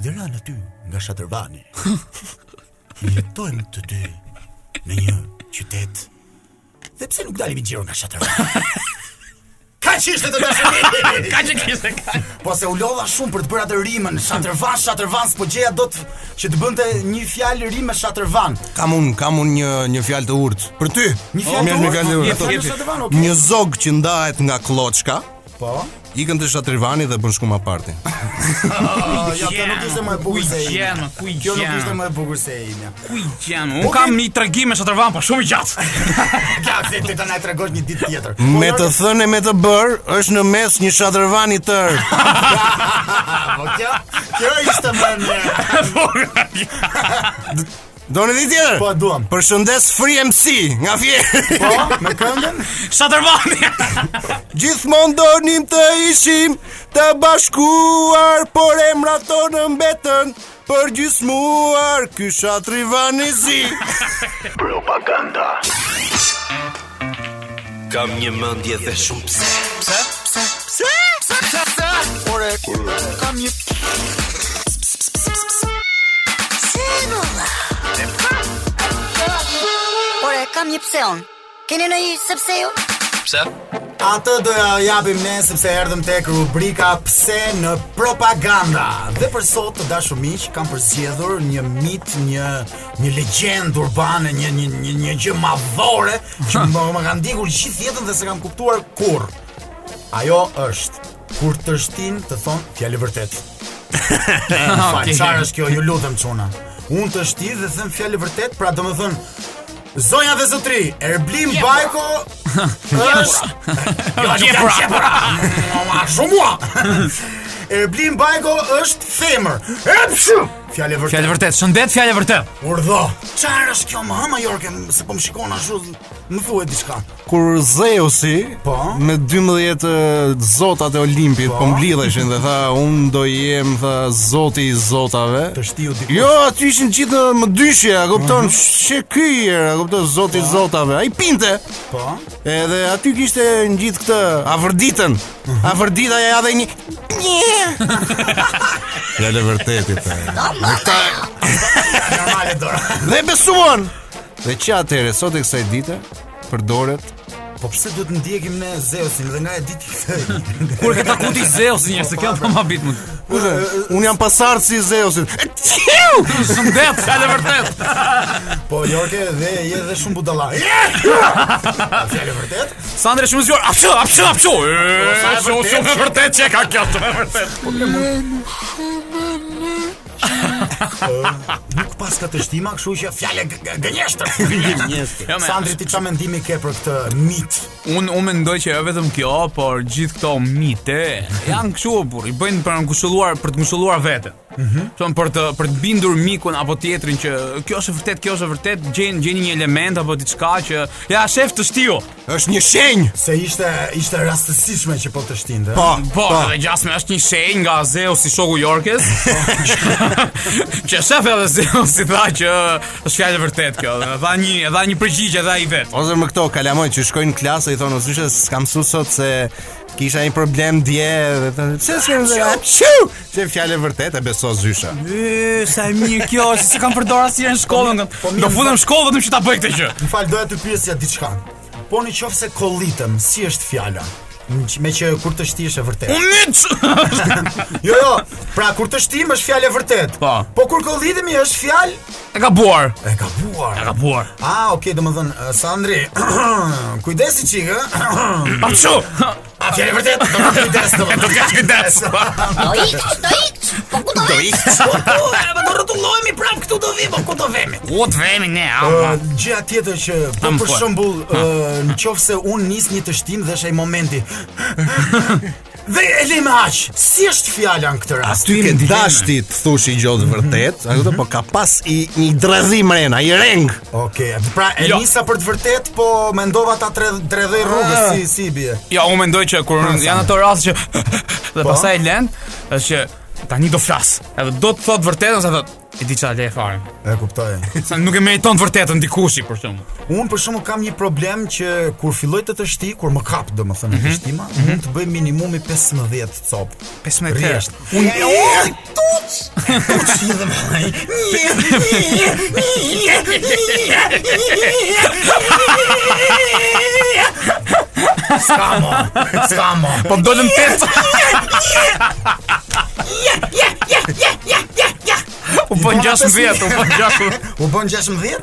Speaker 5: Dhe ranë aty nga shatërbani Jetojmë të dy në një qytet Dhe pse nuk dalim i gjiro nga shatërbani Ka që ishte të dashëri
Speaker 6: Ka që kishte ka.
Speaker 5: Po se u lodha shumë për të bërë atë rimën Shatërvan, shatërvan, s'po gjeja do të Që të bënte një fjalë rimë me shatërvan
Speaker 7: Kam unë, kam unë një, një fjalë të urtë Për ty
Speaker 5: Një fjalë
Speaker 7: Mjërë
Speaker 5: të
Speaker 7: me fjalë të
Speaker 5: urtë, një
Speaker 7: urtë
Speaker 5: fjalë të
Speaker 7: Ato-
Speaker 5: shatërvan, okay.
Speaker 7: Një zog që ndahet nga kloçka
Speaker 5: Po
Speaker 7: Ikën te Shatrivani dhe bën shkuma parti.
Speaker 5: ja, kjo nuk ishte më e bukur se
Speaker 6: Ku i
Speaker 5: ime.
Speaker 6: gjen, ku i
Speaker 5: Kjo nuk
Speaker 6: gjen.
Speaker 5: ishte më e bukur se ime.
Speaker 6: Ku i gjen? Un kam një tregim me Shatërvan, po shumë i gjatë.
Speaker 5: Ka se ti të na tregosh një ditë tjetër.
Speaker 7: Me të thënë e me të bër, është në mes një Shatrivani i tër.
Speaker 5: Po kjo, kjo ishte më e mirë.
Speaker 7: Doni di tjetër?
Speaker 5: Po, duam.
Speaker 7: Përshëndes Free MC nga Fieri.
Speaker 5: Po, me këngën?
Speaker 6: Shatërvani.
Speaker 7: Gjithmonë donim të ishim të bashkuar, por emrat tonë mbetën për gjysmuar ky Shatrivani zi.
Speaker 8: Kam një mendje dhe shumë pse.
Speaker 9: Ore, kam një pse unë. Keni në i sepse ju?
Speaker 1: Pse?
Speaker 5: Atë do ja japim ne sepse erdhëm tek rubrika pse në propaganda. Dhe për sot të dashur miq, kam përzgjedhur një mit, një një legjendë urbane, një një një, një gjë madhore që më, më ka ndjekur gjithë jetën dhe s'e kam kuptuar kurrë. Ajo është kur të shtin të thon fjalë vërtet. Fal, çfarë është kjo? Ju lutem çuna. Unë të shti dhe them fjalë vërtet, pra domethën Zonja dhe zotri, Erblim Bajko është Jo, nuk jam qepura. Ma shumë mua. Erblim Bajko është femër. Epshu! Fjalë e
Speaker 6: Fjalë
Speaker 5: vërtet.
Speaker 6: vërtet, shëndet fjalë vërtet.
Speaker 5: Urdhë. Çfarë është kjo më hama Jorke, se po më shikon ashtu. Më thuaj diçka.
Speaker 7: Kur Zeusi
Speaker 5: Po?
Speaker 7: me 12 e, zotat e Olimpit po, mblidheshin dhe tha unë do jem tha zoti i zotave.
Speaker 5: Të shtiu diku.
Speaker 7: Jo, aty ishin gjithë në më dyshje, a kupton? Çe ky era, a kupton? Zoti i zotave. Ai pinte.
Speaker 5: Po.
Speaker 7: Edhe aty kishte në gjithë këtë avërditën. Avërdita ja dhe një Ja le vërtetit.
Speaker 5: Normale dora.
Speaker 7: Dhe besuan. Dhe që atëre sot e kësaj dite përdoret
Speaker 5: Po pse duhet ndjekim ne Zeusin dhe nga e ditë këtë?
Speaker 6: Kur ke taku ti Zeus njerëz, se kjo po ma bit mund.
Speaker 7: Unë jam pasardh si Zeusin.
Speaker 6: Shëndet fjalë vërtet.
Speaker 5: Po Jorke dhe je dhe shumë budalla. Fjalë e vërtet?
Speaker 6: Sandra shumë zgjuar. Apshu, apshu, apshu. Apshu, shumë e vërtet që ka kjo, shumë e vërtet.
Speaker 5: Nuk pas ka të shtima, kështu që fjalë g- g- gënjeshtër. Sandri ti çfarë mendimi ke për këtë mit?
Speaker 6: Un un mendoj që jo vetëm kjo, por gjithë këto mite janë kështu burr, i bëjnë për të ngushëlluar për të ngushëlluar veten. Mhm. Mm për të për të bindur mikun apo tjetrin që kjo është e vërtet, kjo është e vërtet, gjejnë gjejnë një element apo diçka që ja shef të shtiu.
Speaker 7: Është një shenjë.
Speaker 5: Se ishte ishte rastësishme që po të shtinte.
Speaker 7: Po,
Speaker 6: Po, edhe gjasme është një shenjë nga Zeus si shoku i Jorkes. që shef edhe Zeus si tha që është fjalë e vërtet kjo. Dhe dha një, e dha një përgjigje dha i vet.
Speaker 7: Ose më këto kalamoj që shkojnë në klasë i thonë ose s'kam mësuar sot se kisha një problem dje dhe thonë pse s'kem dhe apshu. Çe fjalë e vërtetë e beso Zysha.
Speaker 6: E, sa e mirë kjo, si se kam përdor asnjëherë në shkollë. nga-
Speaker 5: po mirë,
Speaker 6: Do futem në shkollë vetëm që ta bëj këtë gjë.
Speaker 5: Më fal, doja të pyesja diçka. Po në qoftë se kollitëm, si është fjala? Në q- Me që kur të shtish e vërtet.
Speaker 6: Unë miç.
Speaker 5: Jo, jo. Pra kur të shtim është fjalë e vërtet.
Speaker 6: Po.
Speaker 5: Po kur kollitemi është fjalë
Speaker 6: E ka buar.
Speaker 5: e gabuar.
Speaker 6: E ka buar.
Speaker 5: Ah, okay, domethën uh, Sandri. Kujdesi çikë.
Speaker 6: Apshu.
Speaker 5: A fjalë e vërtet? Do të kujdes domethën. Do të kesh kujdes.
Speaker 9: Do ikë, do ikë. Po ku do ikë?
Speaker 5: Po do rrotullohemi prap këtu do vim, po ku do vemi?
Speaker 6: U të vemi ne,
Speaker 5: Ë,
Speaker 6: ama.
Speaker 5: Gjëja tjetër që po
Speaker 6: Am,
Speaker 5: për
Speaker 6: po.
Speaker 5: shembull, ë, në qoftë se unë nis një të shtim dhe është ai momenti. Dhe e lejmë aq. Si është fjala në këtë rast?
Speaker 6: Ty
Speaker 7: Ke dashti të thush i gjotë vërtet, a kupton, po ka pas i një dredhim rena, i reng.
Speaker 5: Okej, pra e
Speaker 6: Jo.
Speaker 5: nisa për të vërtet, po mendova ta tre- tredhej rrugës
Speaker 6: Ah.
Speaker 5: si si bie.
Speaker 6: Ja, jo, unë mendoj që kur janë ato raste që dhe pastaj lën, është që tani do flas. Edhe do të thot vërtetën, sa thot. E di çfarë le e fare.
Speaker 5: E kuptoj.
Speaker 6: Sa nuk e meriton të vërtetën dikushi për shembull.
Speaker 5: Unë për shkakun kam një problem që kur filloj të të shti, kur më kap domethënë
Speaker 6: Mhm.
Speaker 5: të shtima, mund të bëj minimumi 15 cop.
Speaker 6: 15 herë.
Speaker 5: Rresht. Unë Ska mo, ska mo.
Speaker 6: Po dolën tet. U bën 16, u bën 16.
Speaker 5: U bën 16?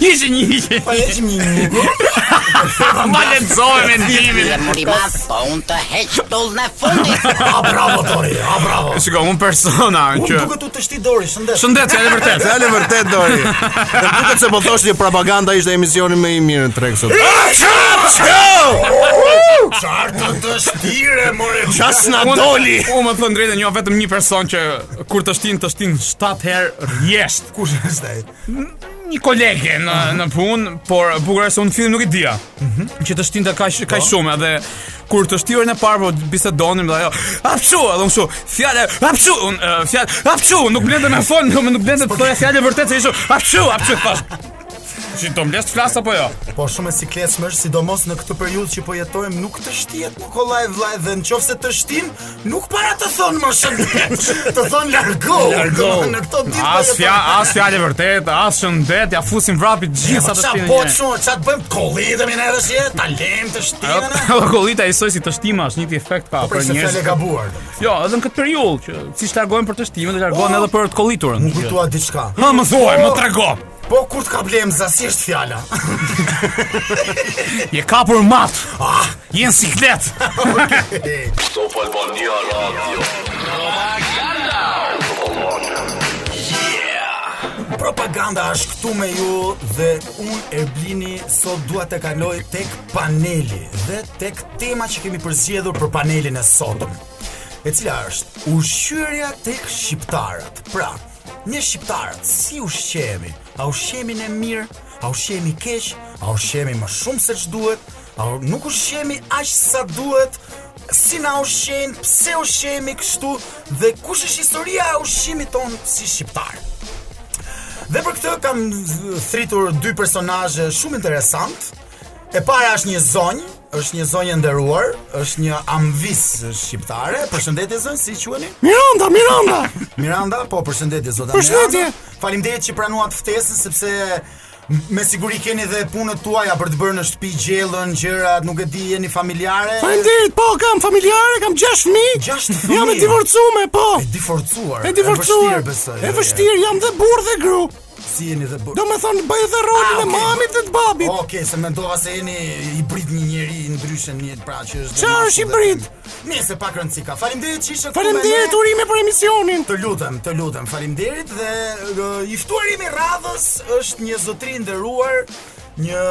Speaker 6: Ishin një.
Speaker 5: Po e që një një
Speaker 6: Ma lexove mendimin.
Speaker 3: Dhe murimas, po unë të heq tullë në fundit
Speaker 5: A bravo Tori, a bravo.
Speaker 6: Shiko, un persona
Speaker 5: Unë
Speaker 6: që
Speaker 5: duket u të shti dori, shëndet.
Speaker 6: Shëndet, fjalë vërtet.
Speaker 7: Fjalë e vërtet Dori. Dhe më duket se po thosh që propaganda ishte emisioni më i mirë në treg sot.
Speaker 5: Çfarë të të shtire, more.
Speaker 7: Ças na
Speaker 6: Unë-
Speaker 7: doli.
Speaker 6: Unë më të thënë drejtën, njoh vetëm një person që kur të shtin, të shtin 7 herë rjesht.
Speaker 5: Kush është ai?
Speaker 6: Një kolege në në punë, por bukur është se unë në fillim nuk e dija. Që të shtin të
Speaker 5: Po.
Speaker 6: kaq kaq shumë edhe kur të shtirën e parë po bisedonim dhe ajo hapshu edhe unë kështu fjalë hapshu unë eh, fjalë hapshu nuk blen të më fon nuk nuk blen të thoya fjalë vërtet se ishu hapshu hapshu thash. Si do mblesh të flas apo jo?
Speaker 5: Po shumë e sikletshme është, sidomos në këtë periudhë që po jetojmë, nuk të shtihet më kollaj vllaj dhe nëse të shtin, nuk para të thonë më shëndet. Të thonë largo. Largo. Në këto ditë po
Speaker 6: As
Speaker 5: jetojmë.
Speaker 6: fjalë, as fjalë e vërtet, as shëndet, ja fusim vrapit gjithë sa të
Speaker 5: Qa
Speaker 6: shtinë.
Speaker 5: po të shumë, qa të bëjmë kollitëm i nërës jetë, talem të shtinë në?
Speaker 6: Kollita i soj si të shtima është një ti efekt ka
Speaker 5: Për
Speaker 6: për
Speaker 5: Po, se fjale
Speaker 6: njerëz.
Speaker 5: ka buar.
Speaker 6: Jo, edhe në këtë periudhë që siç largohen për të shtimin, do largohen
Speaker 5: Po.
Speaker 6: edhe për të kolliturën.
Speaker 5: Më kujtua diçka.
Speaker 6: Ha, më thuaj, më trego.
Speaker 5: Po kur të ka blem zasisht fjala?
Speaker 6: Je kapur mat.
Speaker 5: Ah.
Speaker 6: Je në siklet.
Speaker 5: Propaganda është këtu me ju dhe unë Erblini sot dua të kaloj tek paneli dhe tek tema që kemi përzgjedhur për panelin e sotëm. E cila është ushqyerja tek shqiptarët. Pra, ne shqiptarët si ushqehemi? A ushqehemi në mirë? A ushqehemi keq? A ushqehemi më shumë se ç'duhet? A nuk ushqehemi aq sa duhet? si na ushqen, pse ushqemi kështu dhe kush është historia e ushqimit ton si shqiptar. Dhe për këtë kam z- thritur dy personazhe shumë interesant. E para është një zonjë, është një zonjë e nderuar, është një amvis shqiptare. Përshëndetje zonjë, si quheni?
Speaker 7: Miranda, Miranda.
Speaker 5: Miranda, po përshëndetje zota
Speaker 7: Përshëndetje.
Speaker 5: Miranda. Faleminderit që pranuat ftesën sepse m- me siguri keni dhe punët tuaja për të bërë në shtëpi gjellën, gjërat, nuk e di, jeni familjare.
Speaker 7: Faleminderit, po kam familjare, kam 6 fëmijë.
Speaker 5: Gjashtë
Speaker 7: Jam e
Speaker 5: fëmijë.
Speaker 7: divorcuar, po.
Speaker 5: E diforcuar.
Speaker 7: E divorcuar.
Speaker 5: E vështirë besoj.
Speaker 7: E vështirë, jam dhe burrë dhe gru.
Speaker 5: Si jeni dhe bërë.
Speaker 7: Do me thonë, bëj dhe
Speaker 5: Ah,
Speaker 7: rolin e
Speaker 5: okay.
Speaker 7: mamit dhe të babit.
Speaker 5: Okej, se mendova se jeni i brit një njeri ndryshe një pra që është. dhe
Speaker 7: Qa
Speaker 5: maskull
Speaker 7: është i
Speaker 5: dhe
Speaker 7: brit?
Speaker 5: femër. Nëse pak rëndësi ka. Faleminderit që ishte këtu. me
Speaker 7: Faleminderit
Speaker 5: ne.
Speaker 7: urime për emisionin.
Speaker 5: Të lutem, të lutem. Faleminderit dhe uh, i ftuari i radhës është një zotëri i nderuar, një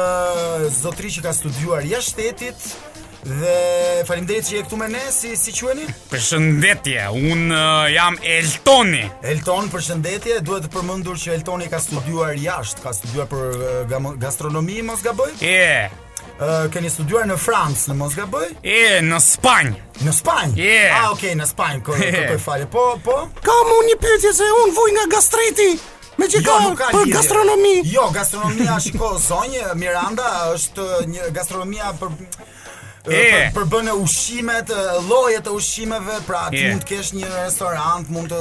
Speaker 5: zotëri që ka studiuar jashtë shtetit dhe faleminderit që je këtu me ne. Si si quheni?
Speaker 6: Përshëndetje, un jam Eltoni.
Speaker 5: Elton, përshëndetje. Duhet të përmendur që Eltoni ka studiuar jashtë, ka studiuar për uh, gamo- gastronomi, mos gaboj.
Speaker 6: E,
Speaker 5: Uh, keni studiuar në Francë, në mos gaboj?
Speaker 6: e në Spanjë.
Speaker 5: Në Spanjë?
Speaker 6: Yeah.
Speaker 5: Ah, okej, në Spanjë, kërë
Speaker 6: Yeah.
Speaker 5: kërkoj falje. Po, po?
Speaker 7: Kam unë një pyetje se unë vuj nga gastriti. Me që ka, për
Speaker 5: Jo, lidhje.
Speaker 7: gastronomi.
Speaker 5: Jo, gastronomia, shiko, zonjë, Miranda, është një gastronomia për... eh,
Speaker 6: Yeah.
Speaker 5: Për, përbën e ushqimet, e, llojet e ushqimeve, pra ti
Speaker 6: Yeah.
Speaker 5: mund të kesh një restorant, mund të...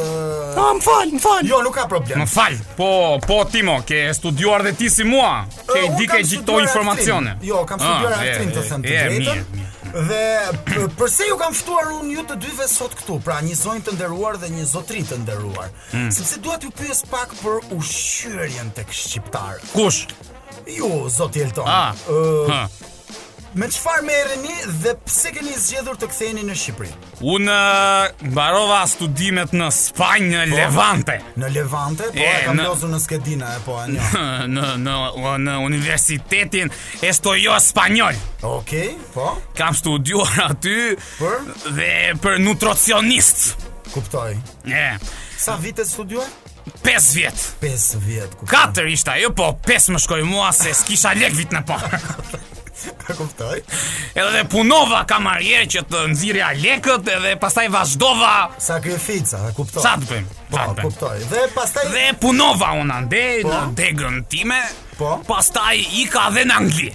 Speaker 7: A, më falë, më falë.
Speaker 5: Jo, nuk ka problem.
Speaker 6: Më fal, po, po Timo, ke studiuar dhe ti si mua. Ke
Speaker 5: Unë
Speaker 6: i di
Speaker 5: Eh, kam
Speaker 6: ke gjithë
Speaker 5: studiuar
Speaker 6: informacione.
Speaker 5: aktrim. Jo, kam studiuar
Speaker 6: Ah, e,
Speaker 5: aktrim të them të
Speaker 6: e, e,
Speaker 5: drejtën.
Speaker 6: mirë, mirë.
Speaker 5: Dhe p- përse ju kam ftuar unë ju të dyve sot këtu, pra një zonjë të nderuar dhe një zotëri të nderuar,
Speaker 6: Hmm.
Speaker 5: sepse dua t'ju pyes pak për ushqyerjen tek shqiptarët.
Speaker 6: Kush?
Speaker 5: Ju, zoti Elton.
Speaker 6: Ah.
Speaker 5: ë,
Speaker 6: Ha.
Speaker 5: me çfarë merreni dhe pse keni zgjedhur të ktheheni në Shqipëri?
Speaker 6: Unë eh, mbarova studimet në Spanjë,
Speaker 5: Po.
Speaker 6: në Levante,
Speaker 5: Në Levante, po
Speaker 6: E,
Speaker 5: e kam
Speaker 6: në-
Speaker 5: lozur në Skedina, e po e një.
Speaker 6: në në në universitetin Estoyo Spanjol.
Speaker 5: Okej, po,
Speaker 6: Kam studiuar aty
Speaker 5: Për?
Speaker 6: dhe për nutricionist.
Speaker 5: kuptoj.
Speaker 6: E,
Speaker 5: Sa vite studiuar?
Speaker 6: 5 vjet.
Speaker 5: 5 vjet, kuptoj.
Speaker 6: 4 ishte ajo, po 5 më shkoi mua se s'kisha lek vit në parë.
Speaker 5: kuptoj.
Speaker 6: Edhe punova kamarierë që të nxirja lekët edhe pastaj vazhdova
Speaker 5: Sakrifica, e kuptoj.
Speaker 6: Sa të bëjmë? Sa të
Speaker 5: Po,
Speaker 6: bëjmë?
Speaker 5: kuptoj. Dhe pastaj
Speaker 6: Dhe punova unë ande
Speaker 5: Po?
Speaker 6: në degën time.
Speaker 5: Po?
Speaker 6: Pastaj ika dhe në Angli.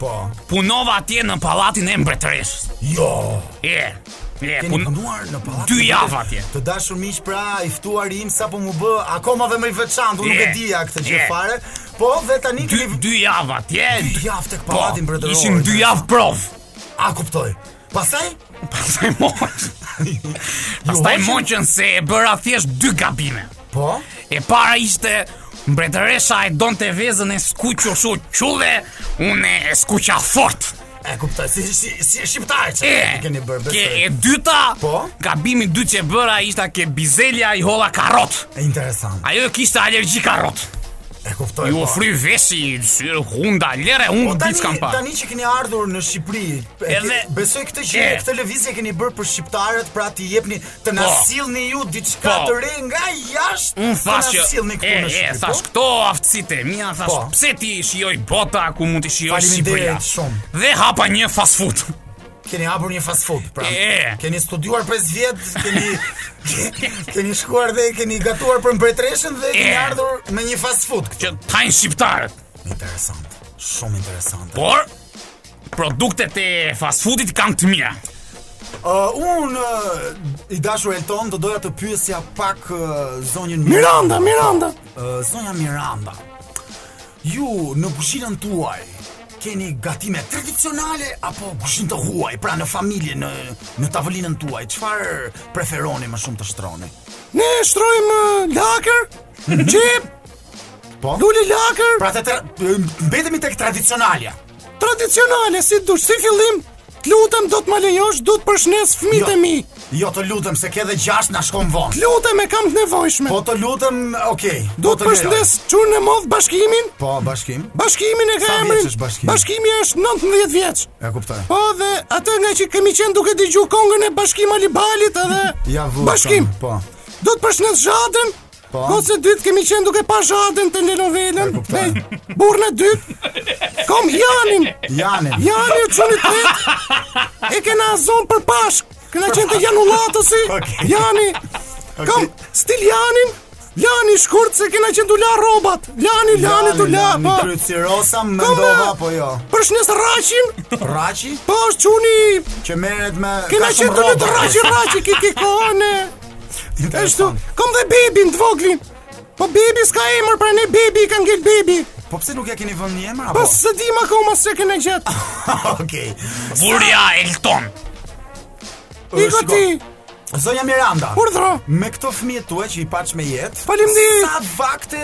Speaker 5: po.
Speaker 6: punova atje në pallatin e mbretëreshës.
Speaker 5: Jo.
Speaker 6: E, e,
Speaker 5: Keni
Speaker 6: pun...
Speaker 5: punuar në pallat.
Speaker 6: Dy javë atje.
Speaker 5: Të dashur miq, pra i ftuari im sapo mu bë akoma dhe më i veçantë, unë nuk e
Speaker 6: Je.
Speaker 5: dija këtë gjë
Speaker 6: Je.
Speaker 5: fare. Po dhe tani
Speaker 6: Dy,
Speaker 5: keni
Speaker 6: dy javë atje. Po,
Speaker 5: Dy javë tek pallati mbretëror.
Speaker 6: Ishin dy javë prov.
Speaker 5: A kuptoj. Pastaj
Speaker 6: Pastaj moqën. Pastaj
Speaker 5: hoqën?
Speaker 6: moqën se e bëra thjesht dy gabime.
Speaker 5: po,
Speaker 6: E para ishte mbretëresha e donte vezën e skuqur shu qulle, unë e skuqa fort.
Speaker 5: E kuptoj, si si si shqiptar që
Speaker 6: E,
Speaker 5: keni bërë.
Speaker 6: ke
Speaker 5: besoj.
Speaker 6: e dyta,
Speaker 5: Po?
Speaker 6: gabimi i dytë që bëra ishta ke bizelja i holla karrot.
Speaker 5: E interesant.
Speaker 6: Ajo kishte alergji karrot.
Speaker 5: E kuptoj.
Speaker 6: Ju
Speaker 5: po.
Speaker 6: ofri veshi, zyrë, hunda, lere,
Speaker 5: Po
Speaker 6: unë ditë kam
Speaker 5: tani,
Speaker 6: parë.
Speaker 5: tani që keni ardhur në Shqipëri, e-
Speaker 6: Edhe-
Speaker 5: besoj këtë që
Speaker 6: E.
Speaker 5: këtë lëvizje keni bërë për shqiptarët, pra ti jepni të na
Speaker 6: Po.
Speaker 5: sillni ju diçka
Speaker 6: Po.
Speaker 5: të re nga jashtë.
Speaker 6: Unë thash
Speaker 5: të
Speaker 6: që
Speaker 5: na sillni këtu
Speaker 6: e, jo
Speaker 5: në
Speaker 6: e,
Speaker 5: Shqipëri.
Speaker 6: thash
Speaker 5: po?
Speaker 6: këto aftësitë e mia thash
Speaker 5: Po.
Speaker 6: pse ti i shijoj bota ku mund të shijoj Shqipëria.
Speaker 5: Faleminderit shumë.
Speaker 6: Dhe hapa një fast food.
Speaker 5: Keni hapur një fast food, pra.
Speaker 6: E.
Speaker 5: Keni studiuar 5 vjet, keni ke- keni shkuar dhe keni gatuar për mbretreshën dhe keni
Speaker 6: E.
Speaker 5: ardhur me një fast food. këtu.
Speaker 6: që tajnë shqiptarët.
Speaker 5: Interesant. Shumë interesant.
Speaker 6: Por produktet e fast foodit kanë të mira.
Speaker 5: Uh, un uh, i dashur Elton do doja të pyesja pak uh, zonjën Miranda, Miranda. Uh, zonja Miranda. Ju në kuzhinën tuaj keni gatime tradicionale apo kuzhinë të huaj, pra në familje, në në tavolinën tuaj, çfarë preferoni më shumë të shtroni?
Speaker 10: Ne shtrojmë ë, lakër, gjep,
Speaker 5: Po.
Speaker 10: lule lakër,
Speaker 5: Pra të tra- mbetemi tek tradicionalja.
Speaker 10: tradicionale si dush, si fillim. Lutem do të më lejosh, du të përshnes fëmijët e mi.
Speaker 5: Jo të lutem se ke edhe gjashtë na shkon vonë.
Speaker 10: Lutem e kam të nevojshme.
Speaker 5: Po të lutem, okay.
Speaker 10: Do të përshëndes çun e modh bashkimin.
Speaker 5: Po, bashkim.
Speaker 10: Bashkimin e ka
Speaker 5: Sa vjeç
Speaker 10: emrin.
Speaker 5: është bashkimi?
Speaker 10: Bashkimi është 19 vjeç.
Speaker 5: E kuptoj.
Speaker 10: Po dhe atë nga që kemi qenë duke dëgju kongën e Bashkim Alibalit edhe
Speaker 5: Ja vu.
Speaker 10: Bashkim.
Speaker 5: kam, Po.
Speaker 10: Do të përshëndes Zhatën.
Speaker 5: Po.
Speaker 10: Gocë e dytë kemi qenë duke pa Zhatën të
Speaker 5: E
Speaker 10: telenovelën.
Speaker 5: kuptoj.
Speaker 10: burrën e dytë. Kom Janin.
Speaker 5: Janin.
Speaker 10: Jani u çuni tret. E kena zonë për Pashk. Kena qenë të janullatësi.
Speaker 5: Okej.
Speaker 10: Jani. Kom stil Janin. Lani shkurt se kena qenë dula robat. Lani, lani, dula, po.
Speaker 5: Krycirosa
Speaker 10: Kom,
Speaker 5: mendova
Speaker 10: na.
Speaker 5: apo jo.
Speaker 10: Përshëndes Raqin.
Speaker 5: Raçi
Speaker 10: Po është çuni.
Speaker 5: që merret me
Speaker 10: Kena
Speaker 5: ka shumë
Speaker 10: qenë dula të
Speaker 5: rroba.
Speaker 10: Raqi, Raqi ki ki kone. Ashtu,
Speaker 5: Interesant.
Speaker 10: kom dhe bebin të voglin. Po bebi s'ka emër, pra ne bebi i ka ngel bebi.
Speaker 5: Po pse nuk ja keni vënë një emër apo?
Speaker 10: Po së di ma koma se kene gjatë.
Speaker 5: Okej.
Speaker 6: Burja Elton.
Speaker 5: Po,
Speaker 10: Iko ti,
Speaker 5: Zonja Miranda.
Speaker 10: urdhro.
Speaker 5: Me këto fëmijë tuaj që i paç me jetë.
Speaker 10: Faleminderit.
Speaker 5: Sa vakte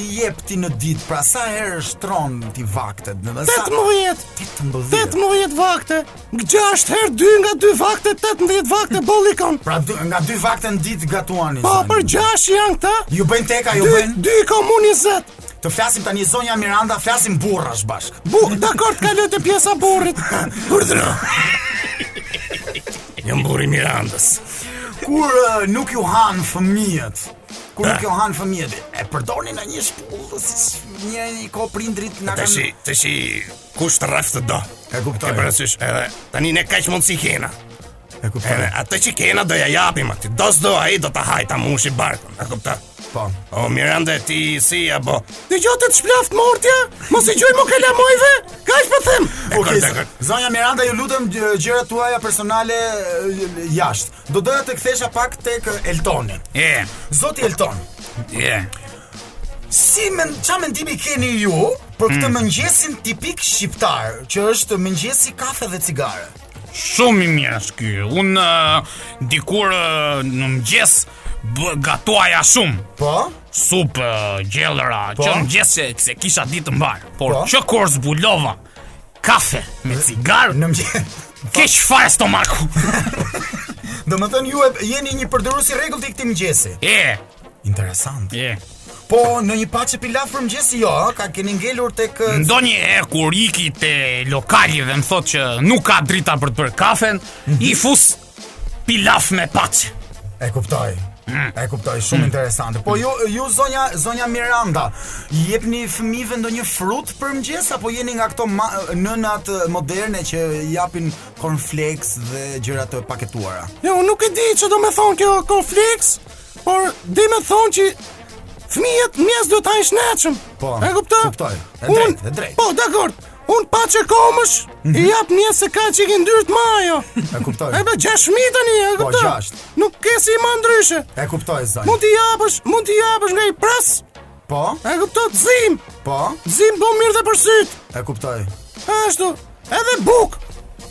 Speaker 5: i jep ti në ditë? Pra sa herë shtron ti vaktet? Në dhe sa
Speaker 10: 18,
Speaker 5: 18.
Speaker 10: 18 vakte, 6 herë 2 nga 2 vakte, 18 vakte bollikon.
Speaker 5: Pra dy, nga dy vakte në ditë gatuani.
Speaker 10: Po
Speaker 5: zonjë.
Speaker 10: për 6 janë këta,
Speaker 5: Ju bëjnë teka, ju
Speaker 10: 2,
Speaker 5: bëjnë.
Speaker 10: 2 komun 20.
Speaker 5: Të flasim tani zonja Miranda, flasim burrash bashk.
Speaker 10: Bu, dakord ka lëtë pjesa burrit. Urdhro. Jam burri Mirandës.
Speaker 5: Kur ë, nuk ju han fëmijët. Kur nuk ju han fëmijët, e përdorni në një shpullë, si një një ko prindrit na
Speaker 10: Tash,
Speaker 5: kanë...
Speaker 10: tash kush të rreth të do.
Speaker 5: E kuptoj.
Speaker 10: E parasysh, edhe tani ne kaq mundsi kena.
Speaker 5: E kuptoj.
Speaker 10: Edhe atë që kena do ja japim aty. Do s'do ai do ta hajta mushi barkun. E kupton?
Speaker 5: Po.
Speaker 10: O Miranda ti si apo? Dëgjoj të shplaft mortja, mos i gjoj mo kalamojve. Kaç po them?
Speaker 5: Okej, zonja Miranda, ju lutem gjë- gjërat tuaja personale ë, jashtë. Do doja të kthesha pak tek ë, Eltoni.
Speaker 6: E,
Speaker 5: Zoti Elton,
Speaker 6: e.
Speaker 5: si men çfarë mendimi keni ju për këtë mëngjesin tipik shqiptar, që është mëngjesi kafe dhe cigare?
Speaker 6: Shumë i mirë është ky. Unë uh, dikur uh, në mëngjes bë- gatuaja shumë.
Speaker 5: Po?
Speaker 6: Sup uh, gjellëra, që në mëngjes se, se kisha ditë mbar. Por
Speaker 5: Po?
Speaker 6: që kur zbulova kafe me cigarë,
Speaker 5: Në mëngjes.
Speaker 6: keq fare stomaku.
Speaker 5: Do më thënë ju e, jeni një përdorus i rregullt i këtij mëngjesi.
Speaker 6: e,
Speaker 5: Interesant.
Speaker 6: e.
Speaker 5: Po, në një paçe pilaf për mëngjesi jo, ha? ka keni ngelur tek ë,
Speaker 6: Ndonjë e kur iki te lokali dhe më thot që nuk ka drita për të bërë kafen,
Speaker 5: Mhm.
Speaker 6: i fus pilaf me paçe.
Speaker 5: E kuptoj. E kuptoj, shumë interesante. Po ju ju zonja zonja Miranda, i jepni fëmijëve ndonjë frut për mëngjes apo jeni nga këto ma, nënat ë, moderne që japin cornflakes dhe gjëra të paketuara?
Speaker 10: Jo, nuk e di që do me thonë kjo konfliks, por di me thonë që fëmijët mjes duhet hajnë shnetshëm.
Speaker 5: Po,
Speaker 10: e kuptoj?
Speaker 5: kuptoj. E
Speaker 10: Unë-
Speaker 5: drejtë, e drejtë.
Speaker 10: Po, dakord. Un pa çe komësh, i jap mjes se ka që i ndyrt majo.
Speaker 5: E kuptoj. Po,
Speaker 10: E bë 6.000 tani, e kuptoj.
Speaker 5: gjasht.
Speaker 10: Nuk ke si më ndryshe.
Speaker 5: E kuptoj zonjë.
Speaker 10: Mund t'i japësh, mund t'i japësh nga i pras.
Speaker 5: Po,
Speaker 10: E kuptoj, zim.
Speaker 5: po,
Speaker 10: Zim bën mirë dhe për syt.
Speaker 5: e kuptoj.
Speaker 10: Ashtu. Edhe buk.